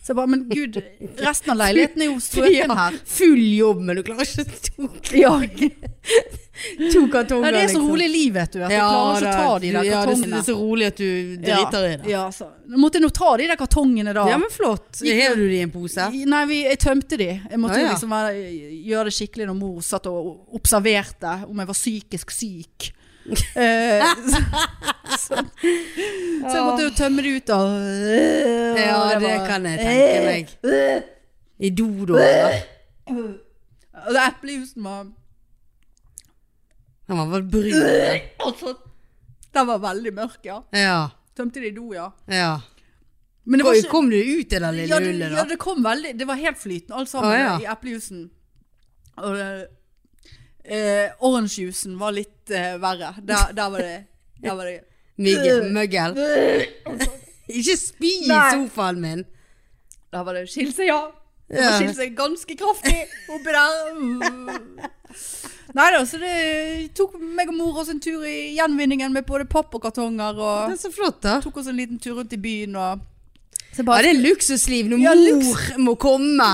Så jeg bare, men gud, resten av leiligheten er jo strøken
<laughs> Ja,
her.
Full jobb, men du klarer ikke to,
Ja.
to kartonger.
Nei, det er så
liksom.
rolig liv, vet du. At jeg klarer ikke å ta de der
ja, det, det
kartongene.
er så rolig at du driter i det.
Ja, så. Nå måtte jeg nå ta de der kartongene da.
men flott. Hever du de i en pose?
Nei, vi, jeg tømte de. Jeg måtte
Ja, ja.
liksom være, gjøre det skikkelig når mor satt og observerte om jeg var psykisk
<laughs>
syk. Eh, så, så, så jeg måtte jo tømme det ut av
Ja, det kan
Eh,
jeg tenke meg. I do, da? eller?
Og det eplejusen var
Han var brun.
altså, Den var veldig mørk, ja.
Ja.
Tømte det i do, ja.
ja.
Men det var
Kom,
ikke
kom du ut i det lille
ja, det,
hullet,
ja,
da?
det kom veldig Det var helt flytende, alt sammen,
Å, ja.
i eplejusen. Og det- eh, orangejusen var litt eh, verre. Der, der var det Der var det
Mygg- Møggel. <laughs> Ikke spy i
eh, Nei.
sofaen min!
Der var det skilse, ja. Det må skille seg ganske kraftig oppi
<laughs>
der. Nei da, så det tok meg og mor oss en tur i gjenvinningen med både papp og kartonger.
Det
Og
er så flott, da.
tok oss en liten tur rundt i byen og så
Ja,
bare, <laughs>
det er luksusliv når
Ja,
mor må komme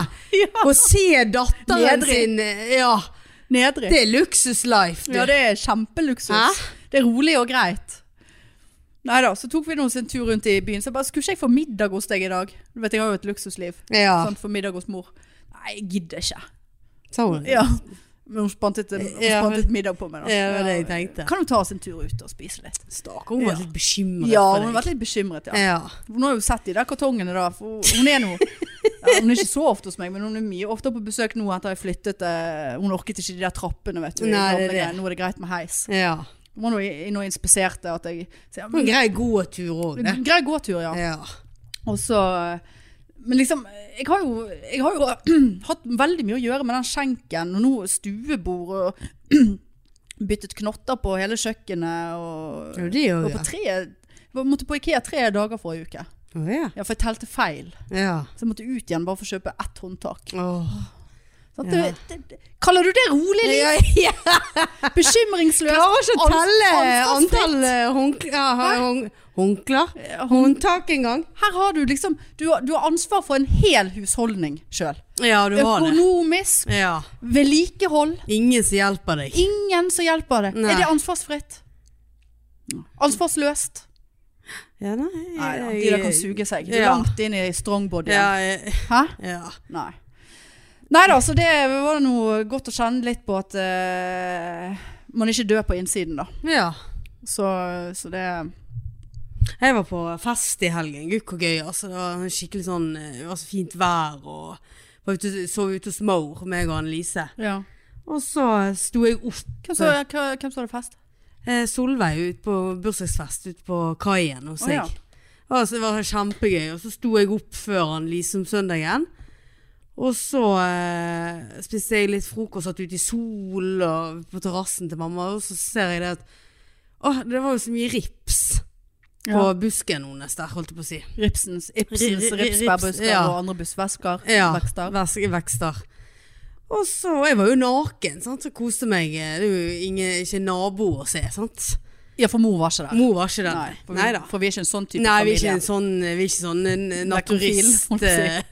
og se datteren
Nedrig.
sin. Ja,
Nedrig.
det er luksuslife. du.
Ja, det er kjempeluksus.
Hæ?
Det er rolig og greit. Nei da, så tok vi nå oss en tur rundt i byen. Så jeg bare, skulle ikke jeg få middag hos deg i dag? Du vet, jeg har jo et luksusliv.
ja.
Sånn for middag hos mor. Nei, jeg gidder ikke.
sa hun.
Ja. <laughs> Men hun spantet, hun
Ja,
spantet middag på meg da.
Ja, det var det jeg tenkte.
Kan hun ta oss en tur ut og spise litt?
Stakkar, hun var litt bekymret
Ja,
for
hun har
deg.
vært litt bekymret, ja.
Ja.
Hun har jo sett de der kartongene da, for hun- hun er
<laughs>
nå... Ja, hun er ikke så ofte hos meg, men hun er mye ofte på besøk nå etter jeg flyttet. eh, Hun orket ikke de der trappene, vet du. i
Nei, det er
gamle
det.
greier. Nå er det greit med heis.
ja.
Hun var nå inne og inspiserte at jeg sier,
Det var en
men,
grei gåtur òg, det.
Grei gåtur, ja.
Ja.
Og så Men liksom, jeg har jo, jeg har jo <clears throat> hatt veldig mye å gjøre med den skjenken, og nå stuebord og <clears throat> byttet knotter på hele kjøkkenet og,
Jo, det gjør
og
vi.
på tre jeg måtte på Ikea tre dager forrige uke.
Å, Ja.
Ja, for jeg telte feil.
ja.
Så jeg måtte ut igjen bare for å kjøpe ett håndtak.
Åh.
Sånn,
Ja.
det, det, det, kaller du det rolig? Liv? Bekymringsløst?
Klarer ikke å
ans-
telle
ansvarsfritt.
antall eh, håndkl- ja,
Hæ?
hånd- håndklær. Håndtak en gang.
Her har du liksom Du, har- du har ansvar for en hel husholdning sjøl.
Ja, du
Økonomisk,
Ja.
vedlikehold.
Ingen som hjelper deg.
Ingen som hjelper deg.
Nei.
Er det ansvarsfritt? Ansvarsløst?
Ja, nei,
Nei da,
jeg-
de der kan suge seg. Du er
Ja.
Langt inn i strongbodyen.
Ja, jeg-
Hæ?
ja.
Nei. Nei da, så det var noe godt å kjenne litt på at eh, man ikke dør på innsiden, da.
ja.
Så, så det
Jeg var på fest i helgen. Gud, hvor gøy. Altså, det var skikkelig sånn eh, Det var så fint vær og var ute, sov ute hos Maur, meg og Annelise.
Ja.
Og så sto jeg opp
Hvem så, hva- hvem så hadde fest?
eh, Solveig ut på bursdagsfest ute på kaien hos
Å,
meg.
ja.
Altså, det var kjempegøy. Og så sto jeg opp før Annelise om søndagen. Og så eh, spiste jeg litt frokost, satt ute i solen og på terrassen til mamma, og så ser jeg det at Åh, det var jo så mye rips. på
Ja.
busken hennes der, holdt jeg på å si.
Ripsens,
Ri-
Ibsens
ri-
ripsbærbusker
rips, ja.
og andre bussvesker. vekster.
vers- vekster. Og så, jeg var jo naken, sant, så koste meg. eh, Det er jo ingen, ikke nabo å se, sant.
Ja, for mor var ikke der.
Mor var ikke den.
Nei, for vi,
Nei da.
For vi er ikke en sånn type
Nei, vi er ikke
familie.
en sånn, vi er ikke sånn en en
Nekrofil,
naturist.
holdt
<laughs>
jeg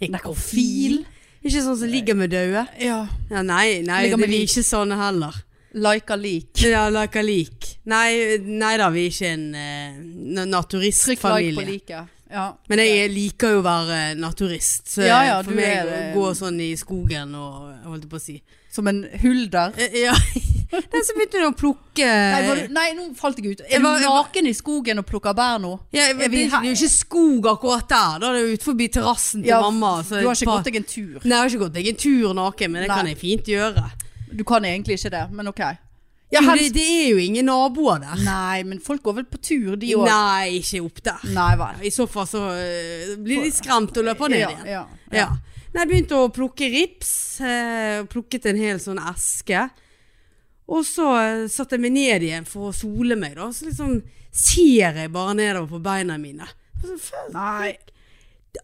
eh, Nekrofil. Ikke sånn som ligger med døde.
Ja.
Ja, nei, nei,
Ligger
det,
med
vi er
lik.
ikke sånne heller.
Like a leak.
Ja, like a lik. Nei, nei da, vi er ikke en eh,
Trykk like på
naturistfamilie.
liket. Ja.
Men jeg liker jo å være eh, naturist. Så
Ja, ja,
for
du
meg
er eh,
å
det.
gå sånn i skogen og holdt jeg på å
<laughs>
si.
Som en hulder.
Eh, Ja. <laughs> Den som begynte å plukke eh,
Nei, var du, nei, nå falt jeg ut.
Jeg
Er du
var- jeg var-
naken i skogen og plukker bær nå?
ja,
er
det,
vi
det er jo ikke skog akkurat der. Da det er jo utenfor terrassen til
Ja,
mamma.
Du har ikke gått deg en tur.
Nei, jeg har ikke gått. Jeg er en tur naken, men det
Nei.
kan jeg fint gjøre.
Du kan egentlig ikke det, men ok. Ja,
Jo, det,
helst.
det er jo ingen naboer der.
Nei, men folk går vel på tur, de òg.
Nei, ikke opp der.
Nei vel.
I så fall så eh, blir de skremt og løper ned
Ja,
igjen.
ja, ja.
Ja. Nei, jeg begynte å plukke rips. Eh, plukket en hel sånn eske. Og så eh, satte jeg meg ned igjen for å sole meg, da. Så liksom ser jeg bare nedover på beina mine. Altså, faen,
Nei.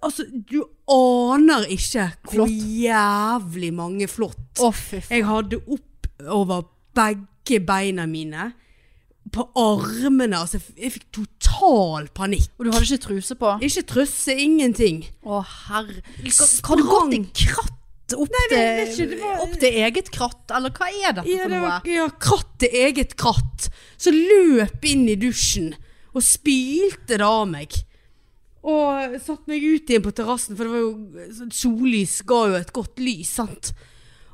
altså du aner ikke hvor
Flott.
jævlig mange flått
Å, fy faen.
jeg hadde opp over begge beina mine. På armene. Altså, jeg f- jeg fikk total panikk.
Og du hadde ikke truse på?
Ikke trøsse, ingenting.
Å, herre Kan- Kan
Sprang.
du gått en kratt opp,
vet
til,
ikke, det var-
opp til eget kratt? Eller hva er dette
Ja,
for
det
noe?
var ja, kratt til eget kratt. Så løp inn i dusjen og spilte det av meg. Og satt meg ut igjen på terrassen, for det var jo sånn sollys ga jo et godt lys, sant.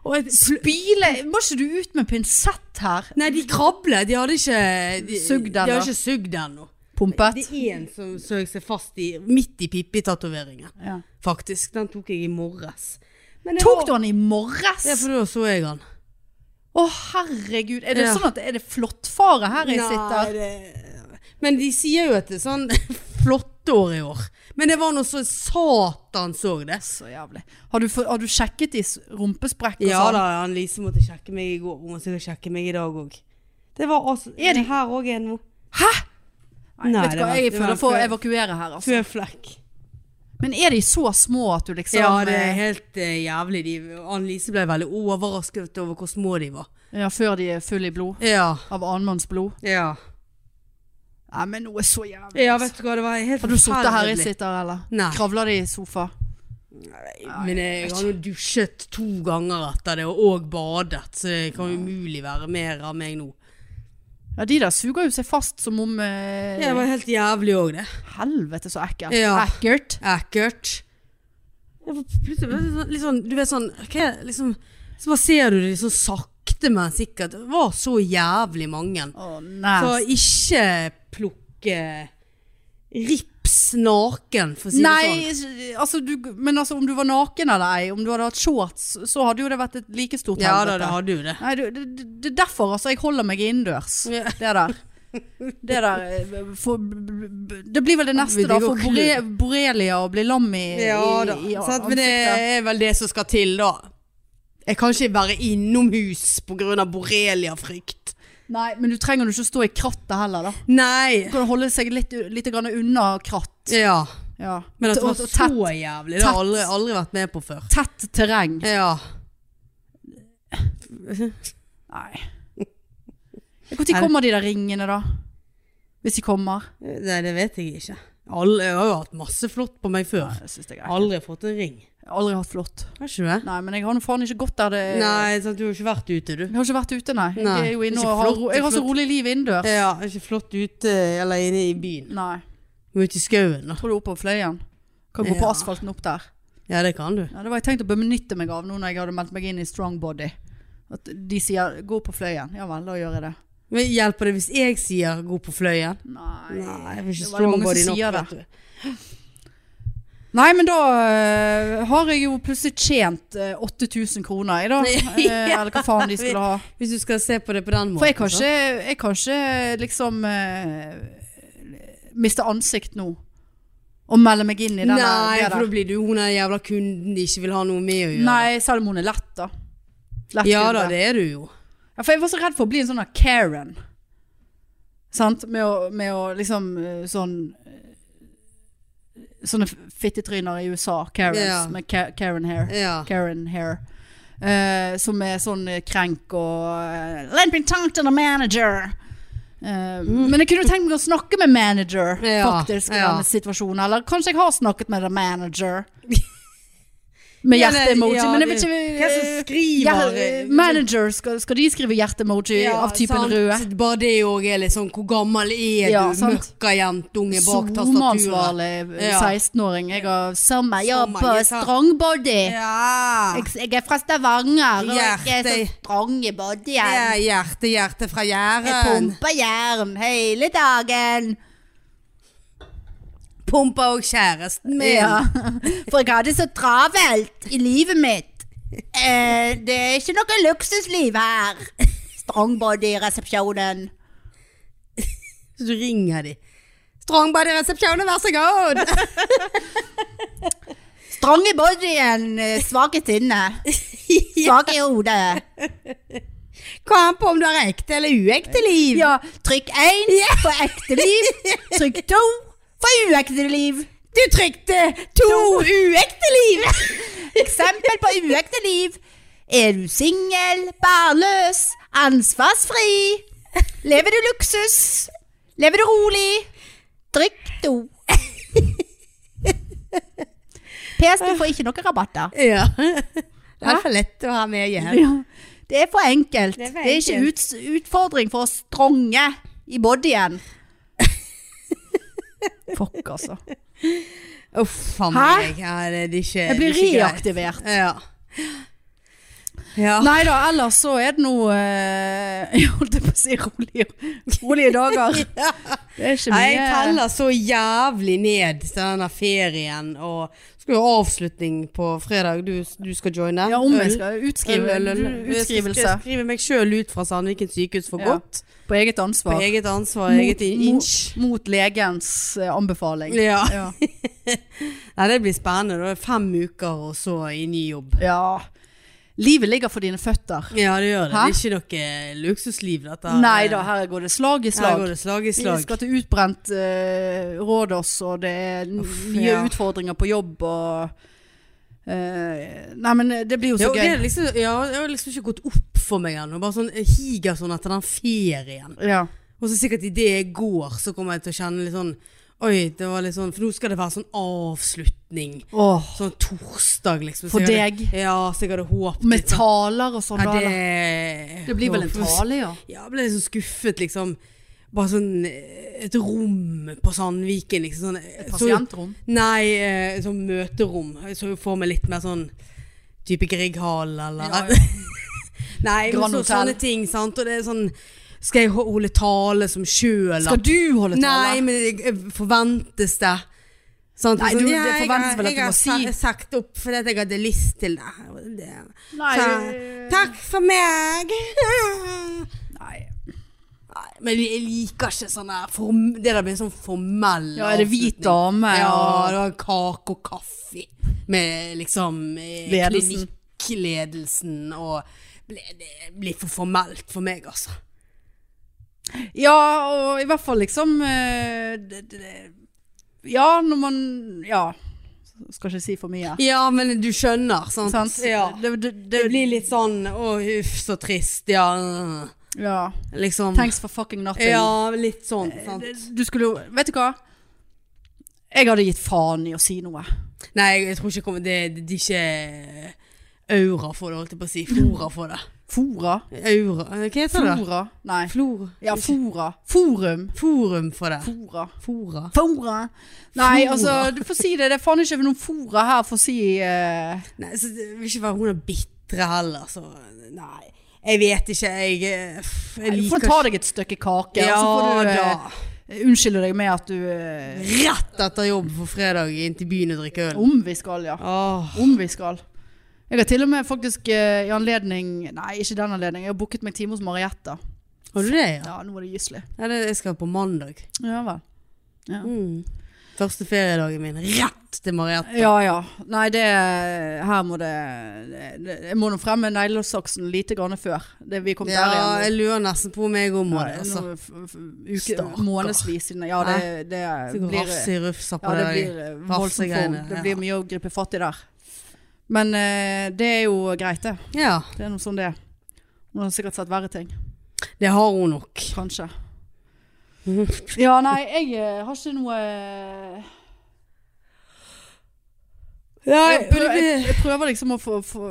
Og jeg, pl-
Bile Må ikke du ut med pinsett her?
nei, de krablet. De hadde ikke de-
Sugd
De
ennå.
hadde ikke sugd ennå.
Pumpet?
Det er en som søg seg fast i, midt i Pippi-tatoveringen,
Ja.
faktisk. Den tok jeg i morges. Men jeg
Tok
var-
du han i morges?
Ja, for da så jeg han.
Å, herregud. Er det
Ja.
sånn at Er det flåttfare her jeg sitter?
det... Men de sier jo at det er sånn <laughs> flotte år i år. Men det var noe så satan så det.
Så jævlig. Har du, få- har du sjekket i s- rumpesprekk og
Ja
sånn?
da, Annelise måtte sjekke meg i går. Hun må sikkert sjekke meg i dag òg. Det var altså
Er det-
her òg en nå?
Hæ? Nei,
Nei,
vet
det
du hva,
var-
jeg
det var
føler for å
før-
evakuere her, altså.
Føflekk.
Men er de så små at du liksom
ja, det er helt eh, jævlig. De- Annelise ble veldig overrasket over hvor små de var.
ja, Før de er full i blod?
Ja.
Av annenmanns blod?
Ja.
Nei, men noe så jævlig.
ja, vet du hva, det var helt
Har du sittet her i
forferdelig.
sitter, eller?
Nei.
Kravler de i sofa?
Men jeg, jeg har jo dusjet to ganger etter det, og, og badet, så det kan jo umulig være mer av meg nå.
Ja, de der suger jo seg fast som om eh,
Ja, det var helt jævlig òg, det.
Helvete, så ekkelt.
Ja.
Ekkelt.
Ekkelt. Jeg var Plutselig ble det sånn- litt sånn, du vet sånn hva, er det liksom, Så bare ser du det liksom sakte, men sikkert. Det var så jævlig mange.
Å, nei.
Så ikke plukke rips naken, for å si det sånn.
Nei, altså du, men altså om du var naken eller ei, om du hadde hatt shorts, så hadde jo det vært et like stort
Ja da, det hadde jo det.
Nei, du, det, det, det er derfor altså jeg holder meg innendørs.
Ja.
Det der. Det der eh, for, b- b- Det blir vel det neste,
Vi
da.
driver
For
og
bore, borrelia og bli lam i, i, i
sant? Men det
ansiktet.
er vel det som skal til, da. Jeg kan ikke være innomhus pga. borreliafrykt.
Nei, men du trenger jo ikke stå i krattet heller, da.
Nei.
Du kan holde seg litt, litt grann unna kratt.
Ja.
Ja.
Men at det
Og- og
var så
tett,
jævlig, det har jeg aldri,
tett.
aldri vært med på før.
tett terreng.
Ja.
Nei. Når kommer de der ringene, da? Hvis de kommer?
Nei, det vet jeg ikke. Alle, jeg har jo hatt masse flott på meg før.
Det syns jeg er ekkelt.
Aldri fått en ring.
Aldri hatt flott.
Har ikke du det?
Nei, men jeg har nå faen ikke gått der det
Nei, sant, du har ikke vært ute, du.
Jeg har ikke vært ute, nei.
Nei.
Jeg, er jo inne
Ikke
og har,
flott,
ro- jeg har så
flott.
rolig liv innendørs.
Ja, ikke flott ute eller inne i byen.
Nei.
Du er ute i skauen, da.
Tror du er oppe på Fløyen? Kan gå på
Ja.
asfalten opp der.
Ja, det kan du.
Ja, det var jeg tenkt å benytte meg av nå når jeg hadde meldt meg inn i Strong Body. At de sier 'gå på Fløyen'. Ja vel, da gjør jeg det.
Men hjelper det hvis jeg sier 'gå på fløyen'?
Nei.
Nei, jeg vil ikke
Det var det mange
strongbody
som
nok,
sier det.
vet du.
Nei, men da øh, har jeg jo plutselig tjent øh, 8000 kroner,
<laughs>
jeg da. Eh, Eller hva faen de skulle ha.
Hvis du skal se på det på den måten.
For jeg kan
så.
ikke, jeg kan ikke liksom eh, miste ansikt nå. Og melde meg inn i den
Nei,
der. det
for da
der.
blir du hun der jævla kunden de ikke vil ha noe med å gjøre.
Nei, selv om hun er lett, da. Lett
ja
kunde.
da, det er du jo.
Ja, for jeg var så redd for å bli en sånn der Karen. Sant? Med å, med å liksom eh, sånn eh, Sånne fittetryner i USA. Karens.
Ja.
Med Ka Karen hair.
Ja.
<laughs> Karen Hair. eh, som er sånn eh, krenk og eh, Let me talk to the manager. Eh, Men jeg kunne jo tenkt meg å snakke med manager
Mm. <laughs> Ja,
Faktisk i
ja.
denne situasjonen. Eller kanskje jeg har snakket med the manager.
<laughs>
Med
Ja, det-
hjerte-emoji.
ja,
men jeg
det-
vet ikke
Hvem som
eh,
skriver
hjer- Manager, skal, skal de skrive hjerte-emoji
Ja,
av typen
sant.
røde?
Bare det òg er litt sånn Hvor gammel er
Ja,
du?
sant.
Møkkajentunge bak tastaturet.
Zoneansvarlig eh,
Ja.
16-åring. Jeg har sommerjobb
Sommer,
og
jeg sa-
strongbody.
Ja.
Jeg, jeg er fra Stavanger, og jeg er så
Hjerte.
strong i
Det
bodyen.
er hjerte, hjerte fra
Jeg
Jæren.
pumper jern hele dagen.
Pumpa og kjæresten min.
Ja. <laughs> For jeg har det så travelt i livet mitt. Eh, det er ikke noe luksusliv her. <laughs> Strongbody-resepsjonen.
Så du ringer de. Strongbody-resepsjonen, vær så god!
Strong i bodyen, eh, svak i sinnet. Svak i hodet.
Kom an på om du har ekte eller uekte liv.
Ja, trykk én for ekte liv. Trykk to for uekte liv.
Du trykte to uekte liv!
<laughs> Eksempel på uekte liv. Er du singel, bærløs, ansvarsfri? Lever du luksus? Lever du rolig? Drikk do.
<laughs>
PS, du får ikke noen rabatter.
Ja. <laughs> Det er for lett å ha med hjem.
Det er for enkelt. Det
Det er
er,
for
ikke ut, utfordring for oss stronge i
<laughs>
bodyen. Fuck, altså.
Uff, faen
Hæ?
meg. Ja, det, det er eh, ikke,
Jeg blir
det er ikke greit.
reaktivert.
Ja. ja.
Nei da, ellers så er det noe eh, <laughs> Jeg holdt på å si rolige, rolige
<laughs>
dager. Det er ikke
Nei, jeg
mye
teller så jævlig ned til denne ferien, og skal jo ha avslutning på fredag. Du, du skal joine?
Ja, om
Øl.
jeg skal utskrive
Øl, øl, øl.
du- utskrivelse
Jeg skal skrive meg sjøl ut fra Sandviken sykehus for
Ja.
godt.
på eget
På
ansvar.
eget ansvar,
Mot-
eget
mot-
inch.
Mot legens eh, anbefaling.
Ja.
Ja.
Nei, det blir spennende. Da er det fem uker, og så i ny jobb.
ja. Livet ligger for dine føtter.
Ja, det gjør det.
Hæ?
Det er ikke noe luksusliv, dette.
Nei da, her går det slag i
Her
slag.
går det slag i
Vi
slag.
skal til utbrent eh, Rådås, og det er n-
Uff,
nye
ja.
utfordringer på jobb og eh, Nei, men det blir jo så
Ja, og det
gøy.
er liksom, ja, det har liksom ikke gått opp for meg ennå. Bare sånn jeg higer sånn etter den ferien.
Ja.
Og så sikkert idet jeg går, så kommer jeg til å kjenne litt sånn Oi, det var litt sånn For nå skal det være sånn avslutning.
Åh,
Sånn torsdag, liksom. Så
For
jeg hadde-
deg?
Ja, så jeg hadde håpet
med
litt sånn.
taler og sånn.
Ja,
da, eller?
det,
det blir vel en tale, ja.
Ja, jeg ble liksom skuffet, liksom. Bare sånn eh, et rom på Sandviken, liksom. Sånn, et
Pasientrom.
Nei, eh, sånn møterom. Jeg så jo for meg litt mer sånn type Grieghallen eller
Ja, ja.
<laughs> Nei, men
Grand
så,
Hotel.
sånne ting, sant. Og det er sånn Skal jeg ho- holde tale som sjøl?
Skal du holde
Nei,
tale?
men det- eh, forventes det? Sant?
Nei,
Sånn,
du-
ja,
det
jeg
forventes
har-
vel at du må si-
Jeg har sa- sagt opp fordi at jeg hadde lyst til det. Og det.
Nei,
Så,
eh,
takk for meg!
Nei.
Nei, men jeg liker ikke sånn der form, Det der blir sånn formell
Ja, er det hvit
avslutning.
dame?
Ja,
og-
det var kake og kaffe med liksom eh,
Ledelsen.
klinikkledelsen og ble, Det blir for formelt for meg, altså.
ja, og i hvert fall liksom eh, det, det, Ja, når man Ja. Skal ikke si for mye.
Ja, men du skjønner, sant?
Sant?
Ja.
Det, det, det,
Det blir litt sånn Å, uff, så trist, ja. øh,
ja.
Liksom.
Thanks for fucking nothing.
Ja, litt sånn.
Eh,
Sant?
Du skulle jo Vet du hva? Jeg hadde gitt faen i å si noe.
Nei, jeg tror ikke jeg kommer- det, det, det er ikke eh, aura for det, holdt jeg på å si. Flora for det.
Fora?
Aura Hva heter det?
Flora? Nei.
Flora.
Ja, fora. Forum.
Forum for det.
Fora.
Fora.
Fora. Nei,
Fora.
altså, du får si det. Det er faen ikke noen fora her for å si eh,
Nei, så det vil ikke være hun er bitre heller, så nei. Jeg vet ikke, jeg, eh, pff, jeg
Du
liker
får ta deg et stykke kake,
ja,
og så får du eh,
da.
unnskylde deg med at du eh,
Rett etter jobb på fredag inn til byen og drikke øl.
Om vi skal, ja.
Åh.
Om vi skal. Jeg har til og med faktisk eh, i anledning Nei, ikke den anledning. Jeg har booket meg time hos Marietta.
Har du det, ja?
Ja, nå var det gyselig.
Nei, det, jeg skal på mandag.
Ja vel. Ja.
Mm. Første feriedagen min, rett til Mariette.
Ja, ja. Nei, det Her må det, det Jeg må nå fremme neglesaksen lite grann før. Det, vi kom der
Ja,
igjen.
jeg lurer nesten på om jeg òg må
Nei,
det. Altså.
nå f- f- uke,
Stakkar.
månedsvis siden. Ja, det, det
Så går
blir
Rafse i rufsa på
Ja, det
det.
blir eh, voldsomt form.
greiene,
Det
ja.
blir mye å gripe fatt i der. Men eh, det er jo greit, det.
Ja,
Det er noe sånn det er. Hun har sikkert sett verre ting.
det har hun <laughs> nok.
Kanskje. Ja, nei, jeg eh, har ikke noe eh, jeg, prøver, jeg, jeg prøver liksom å få, få,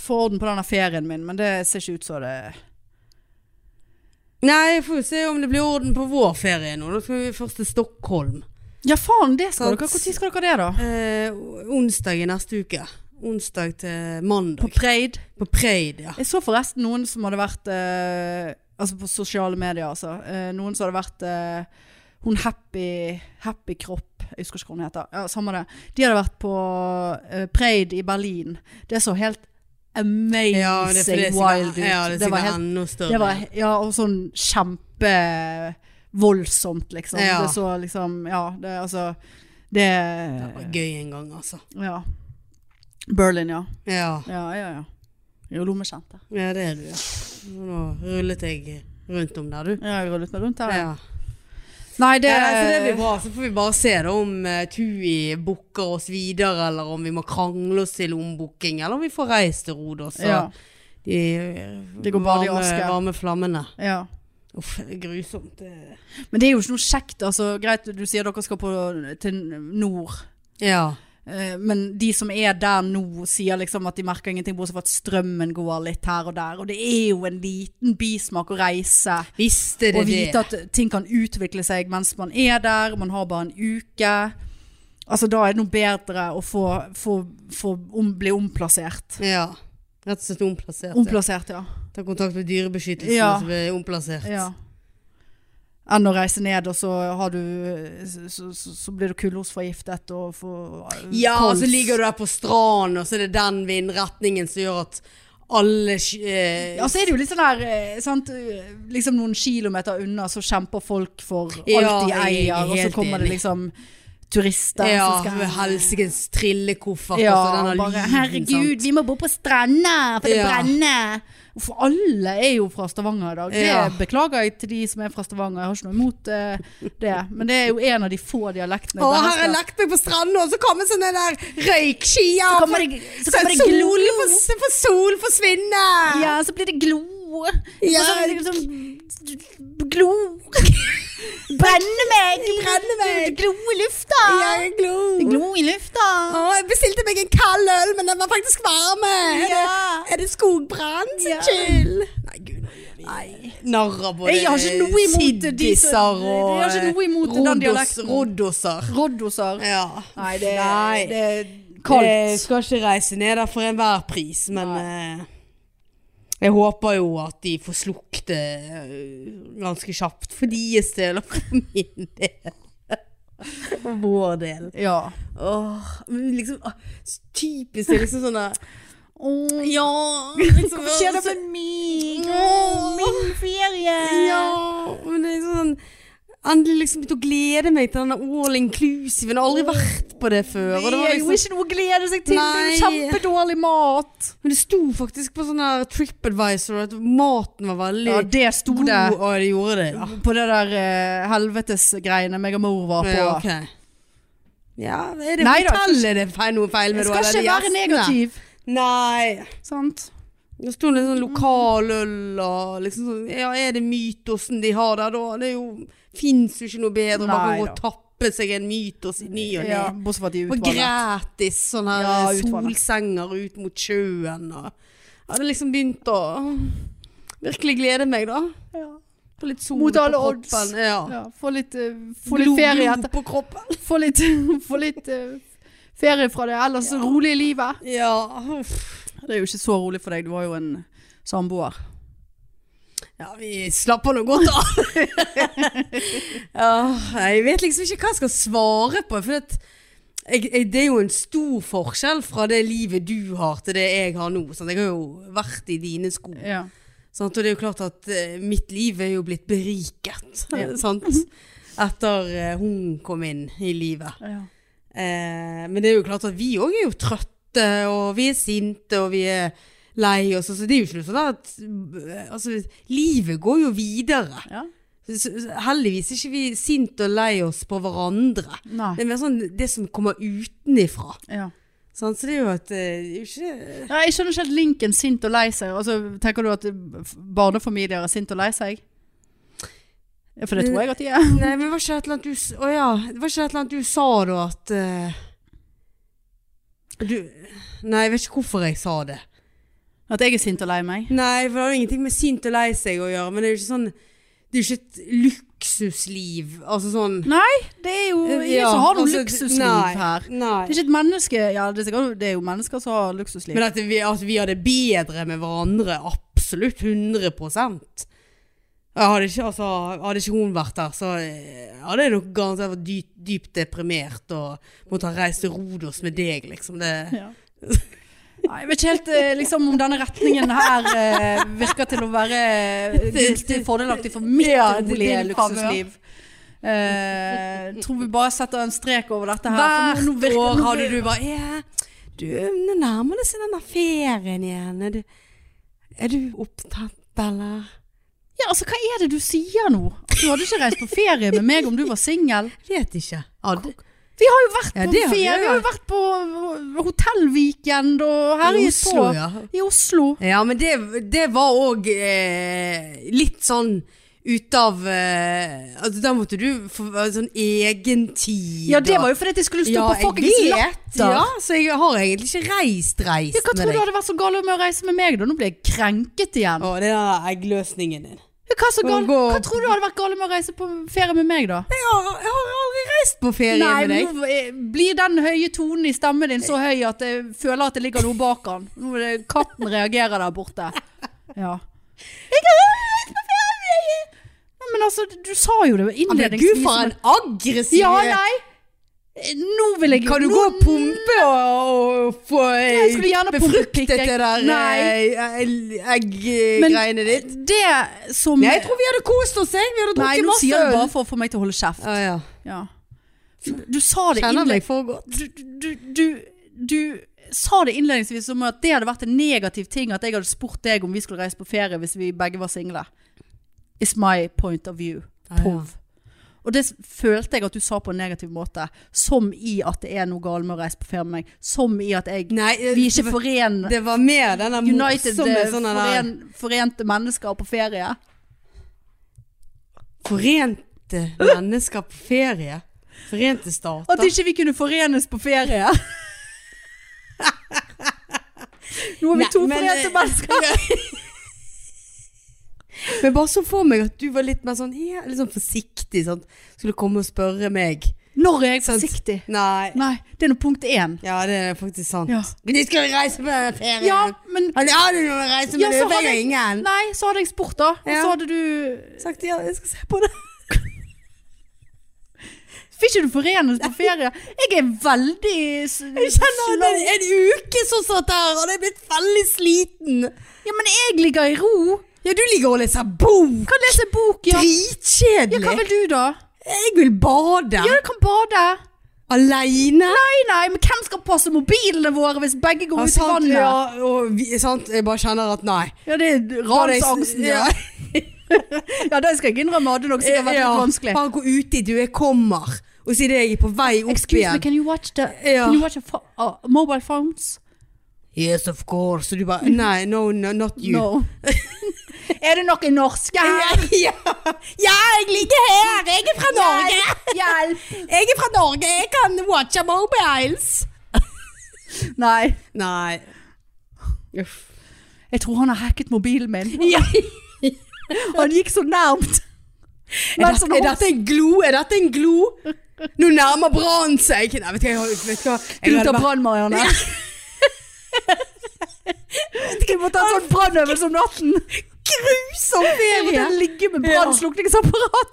få orden på denne ferien min, men det ser ikke ut som det
Nei, jeg får jo se om det blir orden på vår ferie nå. Da skal vi først til Stockholm.
Ja, faen, det skal
Sant.
dere. Når skal dere det, da?
Eh, onsdag i neste uke. Onsdag til mandag.
På Preid?
På Preid, ja.
Jeg så forresten noen som hadde vært eh, Altså på sosiale medier, altså. eh, noen som hadde vært eh, Hun Happy Happy Kropp, jeg husker ikke hva hun heter. Ja, Samme det. De hadde vært på eh, Preid i Berlin. Det så helt amazing
ja det er fordi det er sikkert-
wild ut.
Ja, det
det var
er sikkert
helt
enda større.
det var, ja, og sånn kjempe voldsomt, liksom.
Ja.
Det så liksom Ja, det altså Det
Det var gøy en gang, altså.
Ja. Berlin, ja.
Ja,
Ja, ja, ja. Jo, lommekjente.
ja det er du, ja. Nå rullet jeg rundt om der, du.
Ja, jeg rullet meg rundt her.
Ja.
Nei, det,
Det, ja, altså, det blir bra. Så får vi bare se da om eh, Tui booker oss videre, eller om vi må krangle oss til ombooking, eller om vi får reist til Rodos. og
Ja,
De, eh,
Det går bare i
varme,
aske.
varme flammene.
ja.
Uff, det er grusomt. det.
Men det er jo ikke noe kjekt. Altså, greit, du sier dere skal på, til nord.
Ja.
eh, Men de som er der nå sier liksom at de merker ingenting Bortsett fra at strømmen går litt her og der Og det er jo en liten bismak å reise
Visste det
Og
det?
vite at ting kan utvikle seg mens man er der, man har bare en uke. Altså, da er det noe bedre å få, få, få om, bli omplassert.
Ja. Rett og slett omplassert. ja.
Omplassert, ja.
Ta kontakt med dyrebeskyttelsen
Ja.
som er omplassert.
ja. Enn å reise ned, og så, har du, så, så, så blir du kullosforgiftet og får eh,
Ja, og så ligger du der på stranden, og så er det den vindretningen som gjør at alle sk- eh,
Ja, så er det jo litt sånn der eh, sant? eh, Liksom noen kilometer unna så kjemper folk for alt
Ja,
de
jeg er
eier, og så
helt
kommer det
enig.
liksom turister.
Ja,
som skal-
med helsikens trillekoffert
ja,
og så denne
bare,
lyden.
herregud, vi må bo på stranda, for det
Ja.
brenner. For alle er jo fra Stavanger i dag. Det
Ja.
beklager jeg til de som er fra Stavanger, jeg har ikke noe imot eh, det. Men det er jo en av de få dialektene.
Sant? Å,
der
her har jeg
skal-
lagt meg på stranden, og så kommer sånne der røykskia.
Så kommer
og
det- så kommer det
sol-
glo.
for- Så får sol forsvinne.
Ja, så blir det glo.
Ja.
Og så blir det liksom, glo. <laughs> Brenne meg.
Brenne meg.
Glo i lufta.
Jeg glo.
Glo i lufta.
Å, jeg bestilte meg en kald øl, men den var faktisk varm. Er det-
Ja.
Er det skogbrann sin
Ja.
skyld? Nei, gud, nå gjør vi narrer både
Jeg har ikke noe imot de som-
siddiser og
Jeg har ikke noe imot den
rodos-
dialekten.
Roddoser.
Roddoser.
Ja.
Nei, det,
Nei.
det er
Jeg
kaldt.
Eh, skal ikke reise ned der for enhver pris, men eh, jeg håper jo at de får slukt det eh, ganske kjapt for deres del og for <laughs> min del. For vår del.
Ja.
Åh, men liksom, ah, typisk det er liksom sånn der
Åh,
Ja! Liksom,
Hvorfor skjer det med meg?
Åh.
Min ferie!
Eh. Ja, men det er sånn Endelig liksom begynt å glede meg til denne all inclusive. Jeg har aldri vært på det før.
Det
Og det var
er jo
liksom,
ikke noe å glede seg til. Det er jo
Nei.
kjempedårlig mat.
men det sto faktisk på sånn her TripAdvisor at maten var veldig
Ja, det sto
god,
det
og det gjorde det, ja.
på det der eh, helvetesgreiene meg og mor var på.
Ja, ok. Ja, er det
Nei da,
hotellet det er feil, noe feil med
Jeg skal ikke
eller de
være
gjestene?
negativ.
Nei.
Sant?
Det sto litt sånn lokaløl og liksom sånn Ja, er det mytosen de har der, da? Det er jo Fins jo ikke noe bedre enn bare
Nei
å
da.
tappe seg en mytos i ny og ne.
Ja, bortsett fra at de
Og
utvalgte.
gratis sånne her eh,
Ja, utvalget.
solsenger ut mot sjøen og Jeg hadde liksom begynt å virkelig glede meg, da.
Ja.
På litt sol
Mot alle
på
odds.
kroppen. Ja.
Ja, få litt, eh, få litt ferie
Blod
etter.
på kroppen.
Få litt, <laughs> få litt eh, ferie fra det ellers rolige livet.
Ja, uff.
Det er jo ikke så rolig for deg, du var jo en samboer.
Ja, vi slapper nå godt av. ja, jeg vet liksom ikke hva jeg skal svare på. For at jeg, jeg, det er jo en stor forskjell fra det livet du har til det jeg har nå. Sant? Jeg har jo vært i dine sko.
Ja.
Sant? Og det er jo klart at eh, mitt liv er jo blitt beriket.
Ja.
<laughs> Sant? Etter eh, hun kom inn i livet. Eh, men det er jo klart at vi òg er jo trøtte, og vi er sinte, og vi er lei oss. og Så det er jo ikke noe sånn at eh, Altså, livet går jo videre.
Ja.
Så- så- Heldigvis er ikke vi sinte og lei oss på hverandre.
Nei.
Det er mer sånn det som kommer utenifra.
Ja.
Sant? Så det er jo at eh, det er jo ikke
Ja, jeg skjønner ikke helt linken sint og lei seg. Altså, tenker du at eh, f- barnefamilier er sint og lei seg? Ja, For det tror jeg at de er.
Nei, men var ikke det et eller annet du s- Å ja. Det var ikke det et eller annet du sa da at eh, du, Nei, jeg vet ikke hvorfor jeg sa det.
At jeg er sint og lei meg.
Nei, for det har jo ingenting med sint og lei seg å gjøre, men det er jo ikke sånn Det er jo ikke et luksusliv. Altså sånn
Det er jo ingen
Ja,
Eh, som har noe
altså,
luksusliv
nei,
her.
Nei.
Det er ikke et menneske Ja, det er, sikkert, det er jo mennesker som har luksusliv.
Men at vi, at vi har det bedre med hverandre, absolutt. 100 Jeg hadde ikke, altså, hadde ikke hun vært der, så eh, hadde jeg nok garantert vært dypt, dypt deprimert og måtte ha reist til Rodos med deg, liksom. Det,
Ja. Nei, jeg vet ikke helt eh, liksom, om denne retningen her eh, virker til å være eh, gunstig fordelaktig for mitt
Ja, det-
rolige
din favør.
luksusliv. Eh, tror vi bare setter en strek over dette her. for
Hvert
nå- nå virker-
år
nå-
hadde du bare «Ja, Du, nå nærmer det seg denne ferien igjen. Er du, er du opptatt, eller?
Ja, altså, hva er det du sier nå? Du hadde ikke reist på ferie med meg om du var singel.
Vet ikke. Hadde.
Vi har jo vært på
Ja, det har vi,
ferie,
ja.
vi har jo vært på hotellweekend og herjet på.
ja.
I Oslo.
Ja, men det, det var òg eh, litt sånn ut av eh, altså, Da måtte du få sånn egentid.
Ja, det var jo fordi at jeg skulle stå på fuckings
jeg vet.
latter.
Ja, så jeg har egentlig ikke reist reist
Ja, hva tror du hadde vært så galt med å reise med meg da? Nå blir jeg krenket igjen.
Å, det er den eggløsningen din.
Ja, Hva, så
Gå-
gal,
gå-
hva tror du hadde vært galt med å reise på ferie med meg da?
Jeg har, jeg har aldri reist på ferie
Nei,
med deg.
nå eh, blir den høye tonen i stemmen din så høy at jeg føler at det ligger noe bak den. Nå er det katten reagerer der borte. Ja. Jeg har reist på ferie! Ja, men altså, du sa jo det
Ja, Men gud,
innledningsvis.
for en
men-
aggressiv
Ja, nei. Eh, Nå vil jeg
Kan du
nå-
gå og pumpe og, og få eh,
Jeg skulle gjerne pumpe pikk,
befruktet
jeg-
det der eh,
Nei. Men-
egg-greiene ditt?
Det som
Nei, jeg tror vi hadde kost oss, jeg. Vi hadde
Nei,
drukket
nå
masse
sier du
øl.
bare for å få meg til å holde kjeft.
Ah, ja.
Ja. Du sa det
Kjenner
innled-
meg for godt.
du, du, du, du sa det innledningsvis som at det hadde vært en negativ ting at jeg hadde spurt deg om vi skulle reise på ferie hvis vi begge var single. Is my point of view.
Ja, ja.
Pov. Og det s- følte jeg at du sa på en negativ måte. Som i at det er noe galt med å reise på ferie med meg. Som i at jeg,
Nei, eh,
vi er ikke
det,
foren,
det var mer den der
United
morsomme
eh,
sånn den der
foren, forente mennesker på ferie.
Forente mennesker på ferie. Forente stater.
At ikke vi kunne forenes på ferie. <laughs> Nå er vi
Nei,
to
men,
forente
eh, <laughs>
mennesker.
Men bare så for meg at du var litt mer sånn, ja, litt sånn forsiktig. Sant? Skulle komme og spørre meg.
Når er jeg
Sant.
forsiktig?
Nei.
Nei, det er nå punkt én.
Ja, det er faktisk sant.
Ja.
Men de skal reise på ferie.
Ja, men
Har du- har du noen reise med
Ja, så
det?
har
Jeg har
jeg-
ingen.
Nei, så hadde jeg spurt, da. Og
Ja.
så hadde du
Sagt ja, jeg skal se på det.
Fikk ikke du forenes på ferie? Jeg er veldig s-
<laughs> <laughs> Jeg kjenner at en, en uke så satt der, og det er blitt veldig sliten.
Ja, men jeg ligger i ro.
Ja, du ligger og leser bok.
Kan lese bok, ja. Ja,
Dritkjedelig.
hva vil du, da?
Jeg vil bade.
Ja, du kan bade.
Alene.
Nei, nei, men hvem skal passe mobilene våre hvis begge går
Ja,
ut i
sant,
vannet?
ja, og vi, sant, jeg bare kjenner at nei.
Ja, det er ransangsten, ja.
<laughs> Ja.
Ja, det skal jeg innrømme hadde nok sikkert vært
Ja,
litt vanskelig.
Bare gå uti, du, jeg kommer. Og si det, jeg er på vei opp
Excuse me,
igjen.
can you watch the
Ja.
Can you watch the pho- uh, mobile phones?
Yes, of course. Og du bare Nei, no, Mm. no not you.
No. <laughs> er det noen norske her?
<laughs> Ja, ja, jeg ligger her. Jeg er fra Norge.
Hjelp!
Jeg er fra Norge. Jeg kan watche mobiles.
Nei.
Nei. Uff.
Jeg tror han har hacket mobilen min.
Ja.
<laughs> Han gikk så nærmt.
Er,
Men
dette,
sånn
er dette en glo? Er dette en glo? Nå nærmer brannen seg. Nei, vet du hva. jeg- Vet du hva? Jeg
Du
hadde
tar
bare-
brann, Marianne. <laughs> Du må ta en sånn brannøvelse om natten.
Grusom
Jeg måtte
ferie.
ligge med brannslukningsapparat.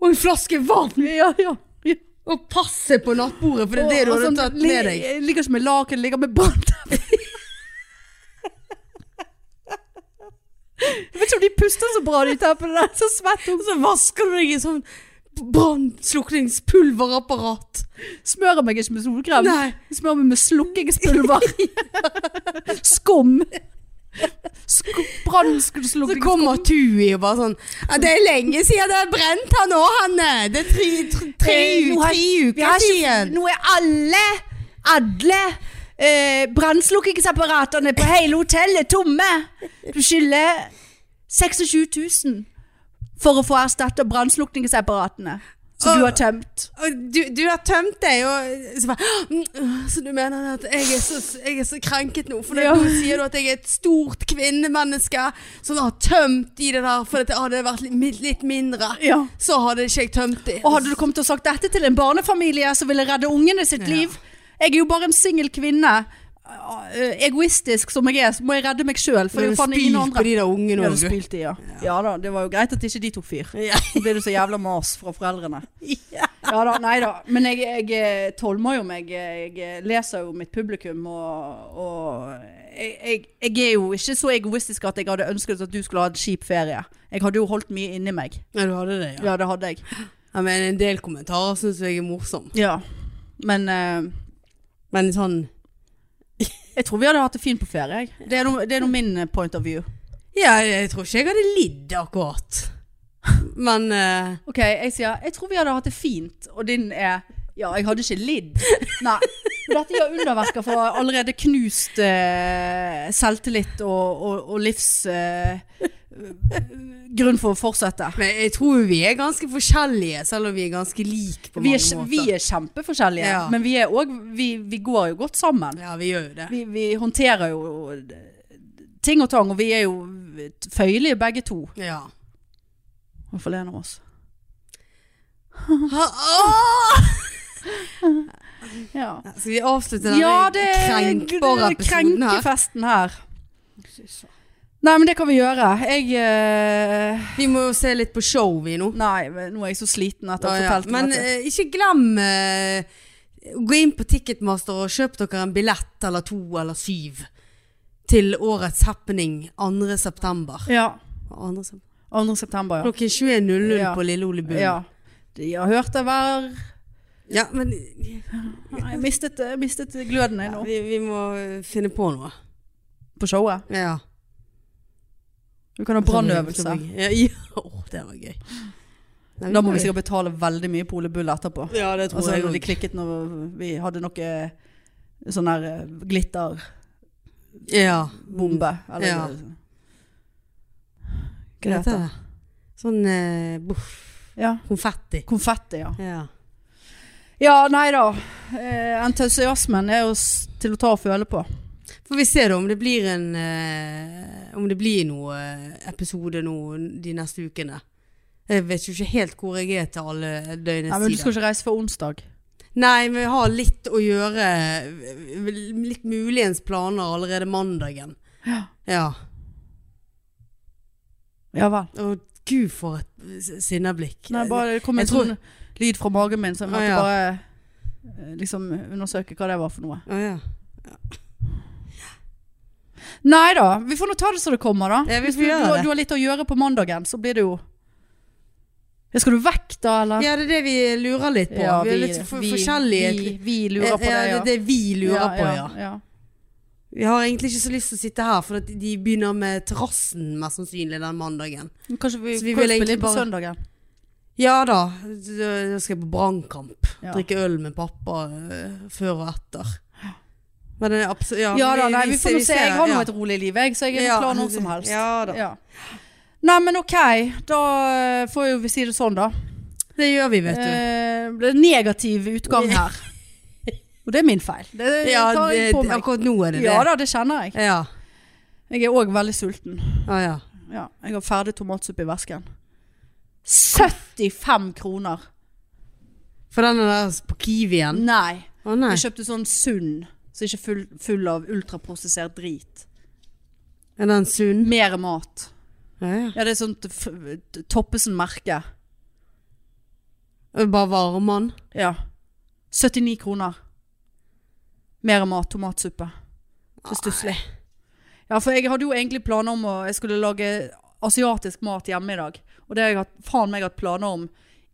Og en flaske vann.
Ja, ja. ja.
Og passe på nattbordet, for det er det du
Og- og
hadde
sånn,
tatt med
li- <laughs>
deg.
Jeg ligger ikke med laken, jeg ligger med brann.
<laughs>
Jeg vet ikke om de puster så bra, de teppene der. Så svett
Og så vasker du deg i sånn brannslukningspulverapparat.
smører meg ikke med solkrem.
Nei.
Smør meg med
<laughs>
slukkingspulver. Skum. Skum
Så
Brannslukkingsskum.
kommer Tui og bare sånn «Ja, Det er lenge siden det er brent her nå, Hanne. Det er tre, tre, tre,
Eh, nå
u-
har-
tre
vi har
uker
ikke-
siden.
Nå er alle, alle eh, brannslukkingsapparatene på hele hotellet tomme. Du skylder 26 000 for å få erstatta brannslukkingsapparatene som du har tømt.
Og du, du har tømt deg, og så bare «Åh, mm, åh, Så du mener at jeg er så, jeg er så krenket nå? For
Ja.
nå sier du at jeg er et stort kvinnemenneske som har tømt i det der, for at det hadde vært litt, litt mindre.
Ja.
Så hadde ikke jeg tømt det.
Og hadde du kommet og sagt dette til en barnefamilie som ville redde ungene sitt
Ja.
liv Jeg er jo bare en singel kvinne. Eh, Egoistisk som jeg er, så må jeg redde meg sjøl. For det er jo faen ingen
Spyl på
andre.
de der ungene
Ja, du
òg, du.
spilte, ja. ja da, det var jo greit at ikke de tok fyr.
Ja.
Så blir du så jævla mas fra foreldrene. Ja da, nei da. Men jeg, jeg eh, tolmer jo meg. Jeg eh, leser jo mitt publikum, og, og jeg, jeg, jeg er jo ikke så egoistisk at jeg hadde ønsket at du skulle ha en kjip ferie. Jeg hadde jo holdt mye inni meg.
Ja, <laughs> du hadde det, ja.
Ja, det hadde jeg.
ja men en del kommentarer syns jeg er morsom.
Ja. Men eh,
Men sånn
jeg tror vi hadde hatt det fint på ferie. jeg. Det er noe- det er nå min eh, point of view.
Ja, jeg tror ikke jeg hadde lidd akkurat. Men eh,
Ok, jeg sier Jeg tror vi hadde hatt det fint Og din er Ja, jeg hadde ikke lidd Nei Men Dette gjør underverker for allerede knust eh, selvtillit og, og, og livs eh, grunn for å fortsette.
men jeg tror vi er ganske forskjellige, selv om vi er ganske like på
Vi er,
mange
kj-
måter.
vi er kjempeforskjellige,
Ja.
men vi, er også, vi, vi går jo godt sammen.
Ja, vi gjør jo det.
Vi, vi håndterer jo eh, ting og tang, og vi er jo føyelige begge to.
Ja.
Hvorfor ler han av oss?
Ha, åh!
Ja,
Skal vi avslutte denne
ja det er
krenkbare episoden her?
krenkefesten her. Nei, men det kan vi gjøre. Jeg eh,
Vi må jo se litt på show, vi nå.
Nei, men nå er jeg så sliten etter å ha
Ja, ja.
fortalt om
Men
dette.
eh, ikke glem eh, å Gå inn på Ticketmaster og kjøp dere en billett eller to eller syv til årets happening 2. september.
Ja.
2. september.
2. september, ja.
Klokken 21.00
Ja.
på Lille Ole Bull.
ja. De har hørt det hver
Ja, men
Jeg mistet, jeg mistet gløden jeg nå.
vi, vi må eh, finne på noe.
På showet.
Ja.
Du kan ha brannøvelse.
Ja, <laughs> ja. Åh, det var gøy. Nei,
Da må vi
gjør det.
sikkert betale veldig mye på Ole Bull etterpå.
Ja, det tror
Altså,
jeg
de
òg.
klikket når vi hadde noe eh, sånn her eh, glitterbombe.
Ja.
Eller
Ja.
Hva heter det?
det? Sånn eh, boff.
Ja.
Konfetti.
Konfetti, ja.
Ja.
Ja, nei da. Eh, entusiasmen er jo s- til å ta og føle på.
Får vi se da om det blir en eh, Om det blir noe eh, episode nå de neste ukene. Jeg vet jo ikke helt hvor jeg er til alle døgnets
Nei, men du skal
tider.
ikke reise før onsdag.
Nei, men vi har litt å gjøre. eh, Litt muligens planer allerede mandagen.
Ja.
Ja.
Ja vel.
Og gud, for et s- sinneblikk.
Nei, bare det kom en
Jeg tror-
sånn lyd fra magen min, så jeg måtte
Å, ja.
bare eh, liksom undersøke hva det var for noe.
Å, ja.
Nei da, vi får nå ta det som det kommer, da.
Ja, vi
Hvis
får
vi,
gjøre
du,
det.
du har litt å gjøre på mandagen, så blir det jo ja, Skal du vekk, da, eller?
ja, det er det vi lurer litt på. vi, er litt for, forskjellige. Eh,
Vi, vi lurer på det,
ja. Det
ja.
er det vi lurer på, ja.
ja.
Vi har egentlig ikke så lyst til å sitte her, for at de begynner med terrassen mest sannsynlig den mandagen.
Men Kanskje vi,
Så vi
kan
vil
spille
egentlig
inn på
bare-
søndagen?
Ja da, da skal jeg på brannkamp.
Ja.
Drikke øl med pappa øh, før og etter. Men det er absolutt Ja,
Ja da, nei, vi får nå se. Jeg har nå
ja.
et rolig liv, jeg, så jeg er
Ja.
klar når som helst.
Ja da.
Ja. Nei, men ok. Da eh, får jo vi si det sånn, da.
Det gjør vi, vet du.
Eh, ble det negativ utgang her. Og det er min feil. Det
Ja,
tar
det,
jeg på meg.
akkurat nå er det det.
Ja da, det kjenner jeg.
Ja.
Jeg er òg veldig sulten.
Ja, ja.
Ja, jeg har ferdig tomatsuppe i vesken. 75 kroner!
For den er der på Kiwien.
Nei.
Å nei.
Jeg kjøpte sånn sunn, så ikke full, full av ultraprosessert drit.
Er den sunn?
Mer mat.
Ja, ja.
Ja, det er sånt f- Toppesen-merke.
Og Bare varmer den?
Ja. 79 kroner. Mer mat, tomatsuppe. Så stusslig. Ja, for jeg hadde jo egentlig planer om å Jeg skulle lage asiatisk mat hjemme i dag. Og det har jeg hatt, faen meg hatt planer om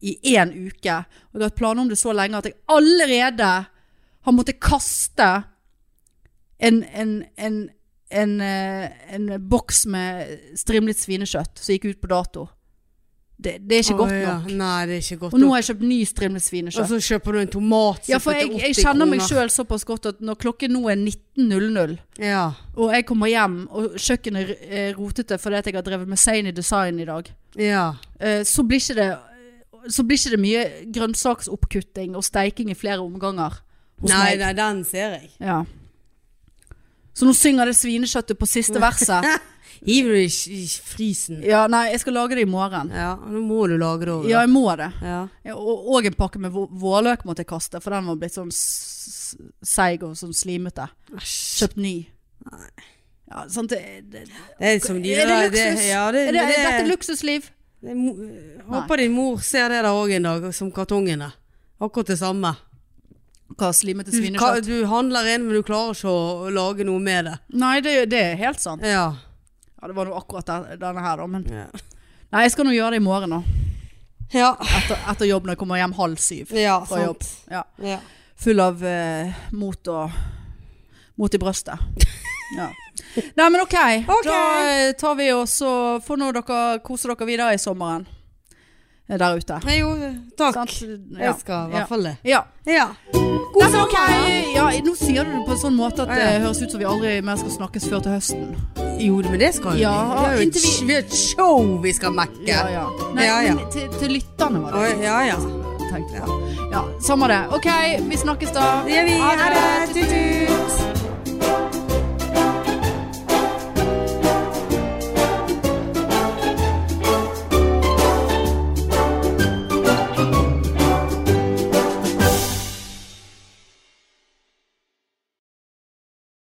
i én uke. Og jeg har hatt planer om det så lenge at jeg allerede har måttet kaste en, en, en, en, eh, en boks med strimlet svinekjøtt som gikk ut på dato. Det, det er ikke
Å,
godt
ja.
nok.
Nei, det er ikke godt
Og nå
nok.
har jeg kjøpt ny strimlet svinekjøtt.
Og så kjøper du en tomatsuppe
Ja, for jeg, jeg kjenner meg sjøl såpass godt at når klokken nå er 19.00,
Ja.
og jeg kommer hjem og kjøkkenet er er rotete fordi at jeg har drevet med sane design i dag,
ja.
eh, så blir ikke det så blir ikke det mye grønnsaksoppkutting og steiking i flere omganger hos
Nei,
meg.
nei, den ser jeg.
Ja. Så nå synger det svinekjøttet på siste verset.
Hiver du i sk- i frysen?
Ja, nei, jeg skal lage det i morgen.
Ja, nå må du lage det over.
Ja, jeg må det.
Ja.
Ja, Og, og en pakke med vå- vårløk måtte jeg kaste, for den var blitt sånn s- s- seig og sånn slimete.
Æsj.
Kjøpt ny. Ja, sant, det, det,
Det er som de
Er det
der-
luksus?
ja, det,
er det,
men det-
er dette luksusliv?
det er mo- jeg Håper din mor ser det der òg en dag, som kartongene. Akkurat det samme.
Hva, slimete
Du, ka,
svinekjøtt?
du handler inn, men du klarer ikke å lage noe med det.
Nei, det, det er helt sant.
Ja.
Ja, det var nå akkurat den- denne her, da. Men
Ja.
nei, jeg skal nå gjøre det i morgen, da.
Ja,
Etter, etter jobb når jeg kommer hjem halv syv.
ja
Fra jobb.
sant.
Ja.
Ja.
Full av eh, mot og Mot i brøstet. Ja. Nei, men ok.
Ok.
Da eh, tar vi oss og får nå dere kose dere videre i sommeren eh, der ute.
Nei, Jo, takk.
Sant? Ja.
Jeg skal i
Ja.
hvert fall det.
ja.
Ja.
God sommer! Altså, Ja, nå sier du det på en sånn måte at
Ah, ja.
det høres ut som vi aldri mer skal snakkes før til høsten.
Jo, men det skal jo
Ja,
vi. har jo et
inntil vi-
sh- Vi har et show vi skal mekke.
Ja, ja. Nei,
Ja, ja.
men Til, til lytterne var det
Oi, ja, ja.
jeg tenkte på. Ja, samme det. Ok, vi snakkes da.
Det gjør vi. Ha det. Tut-tut.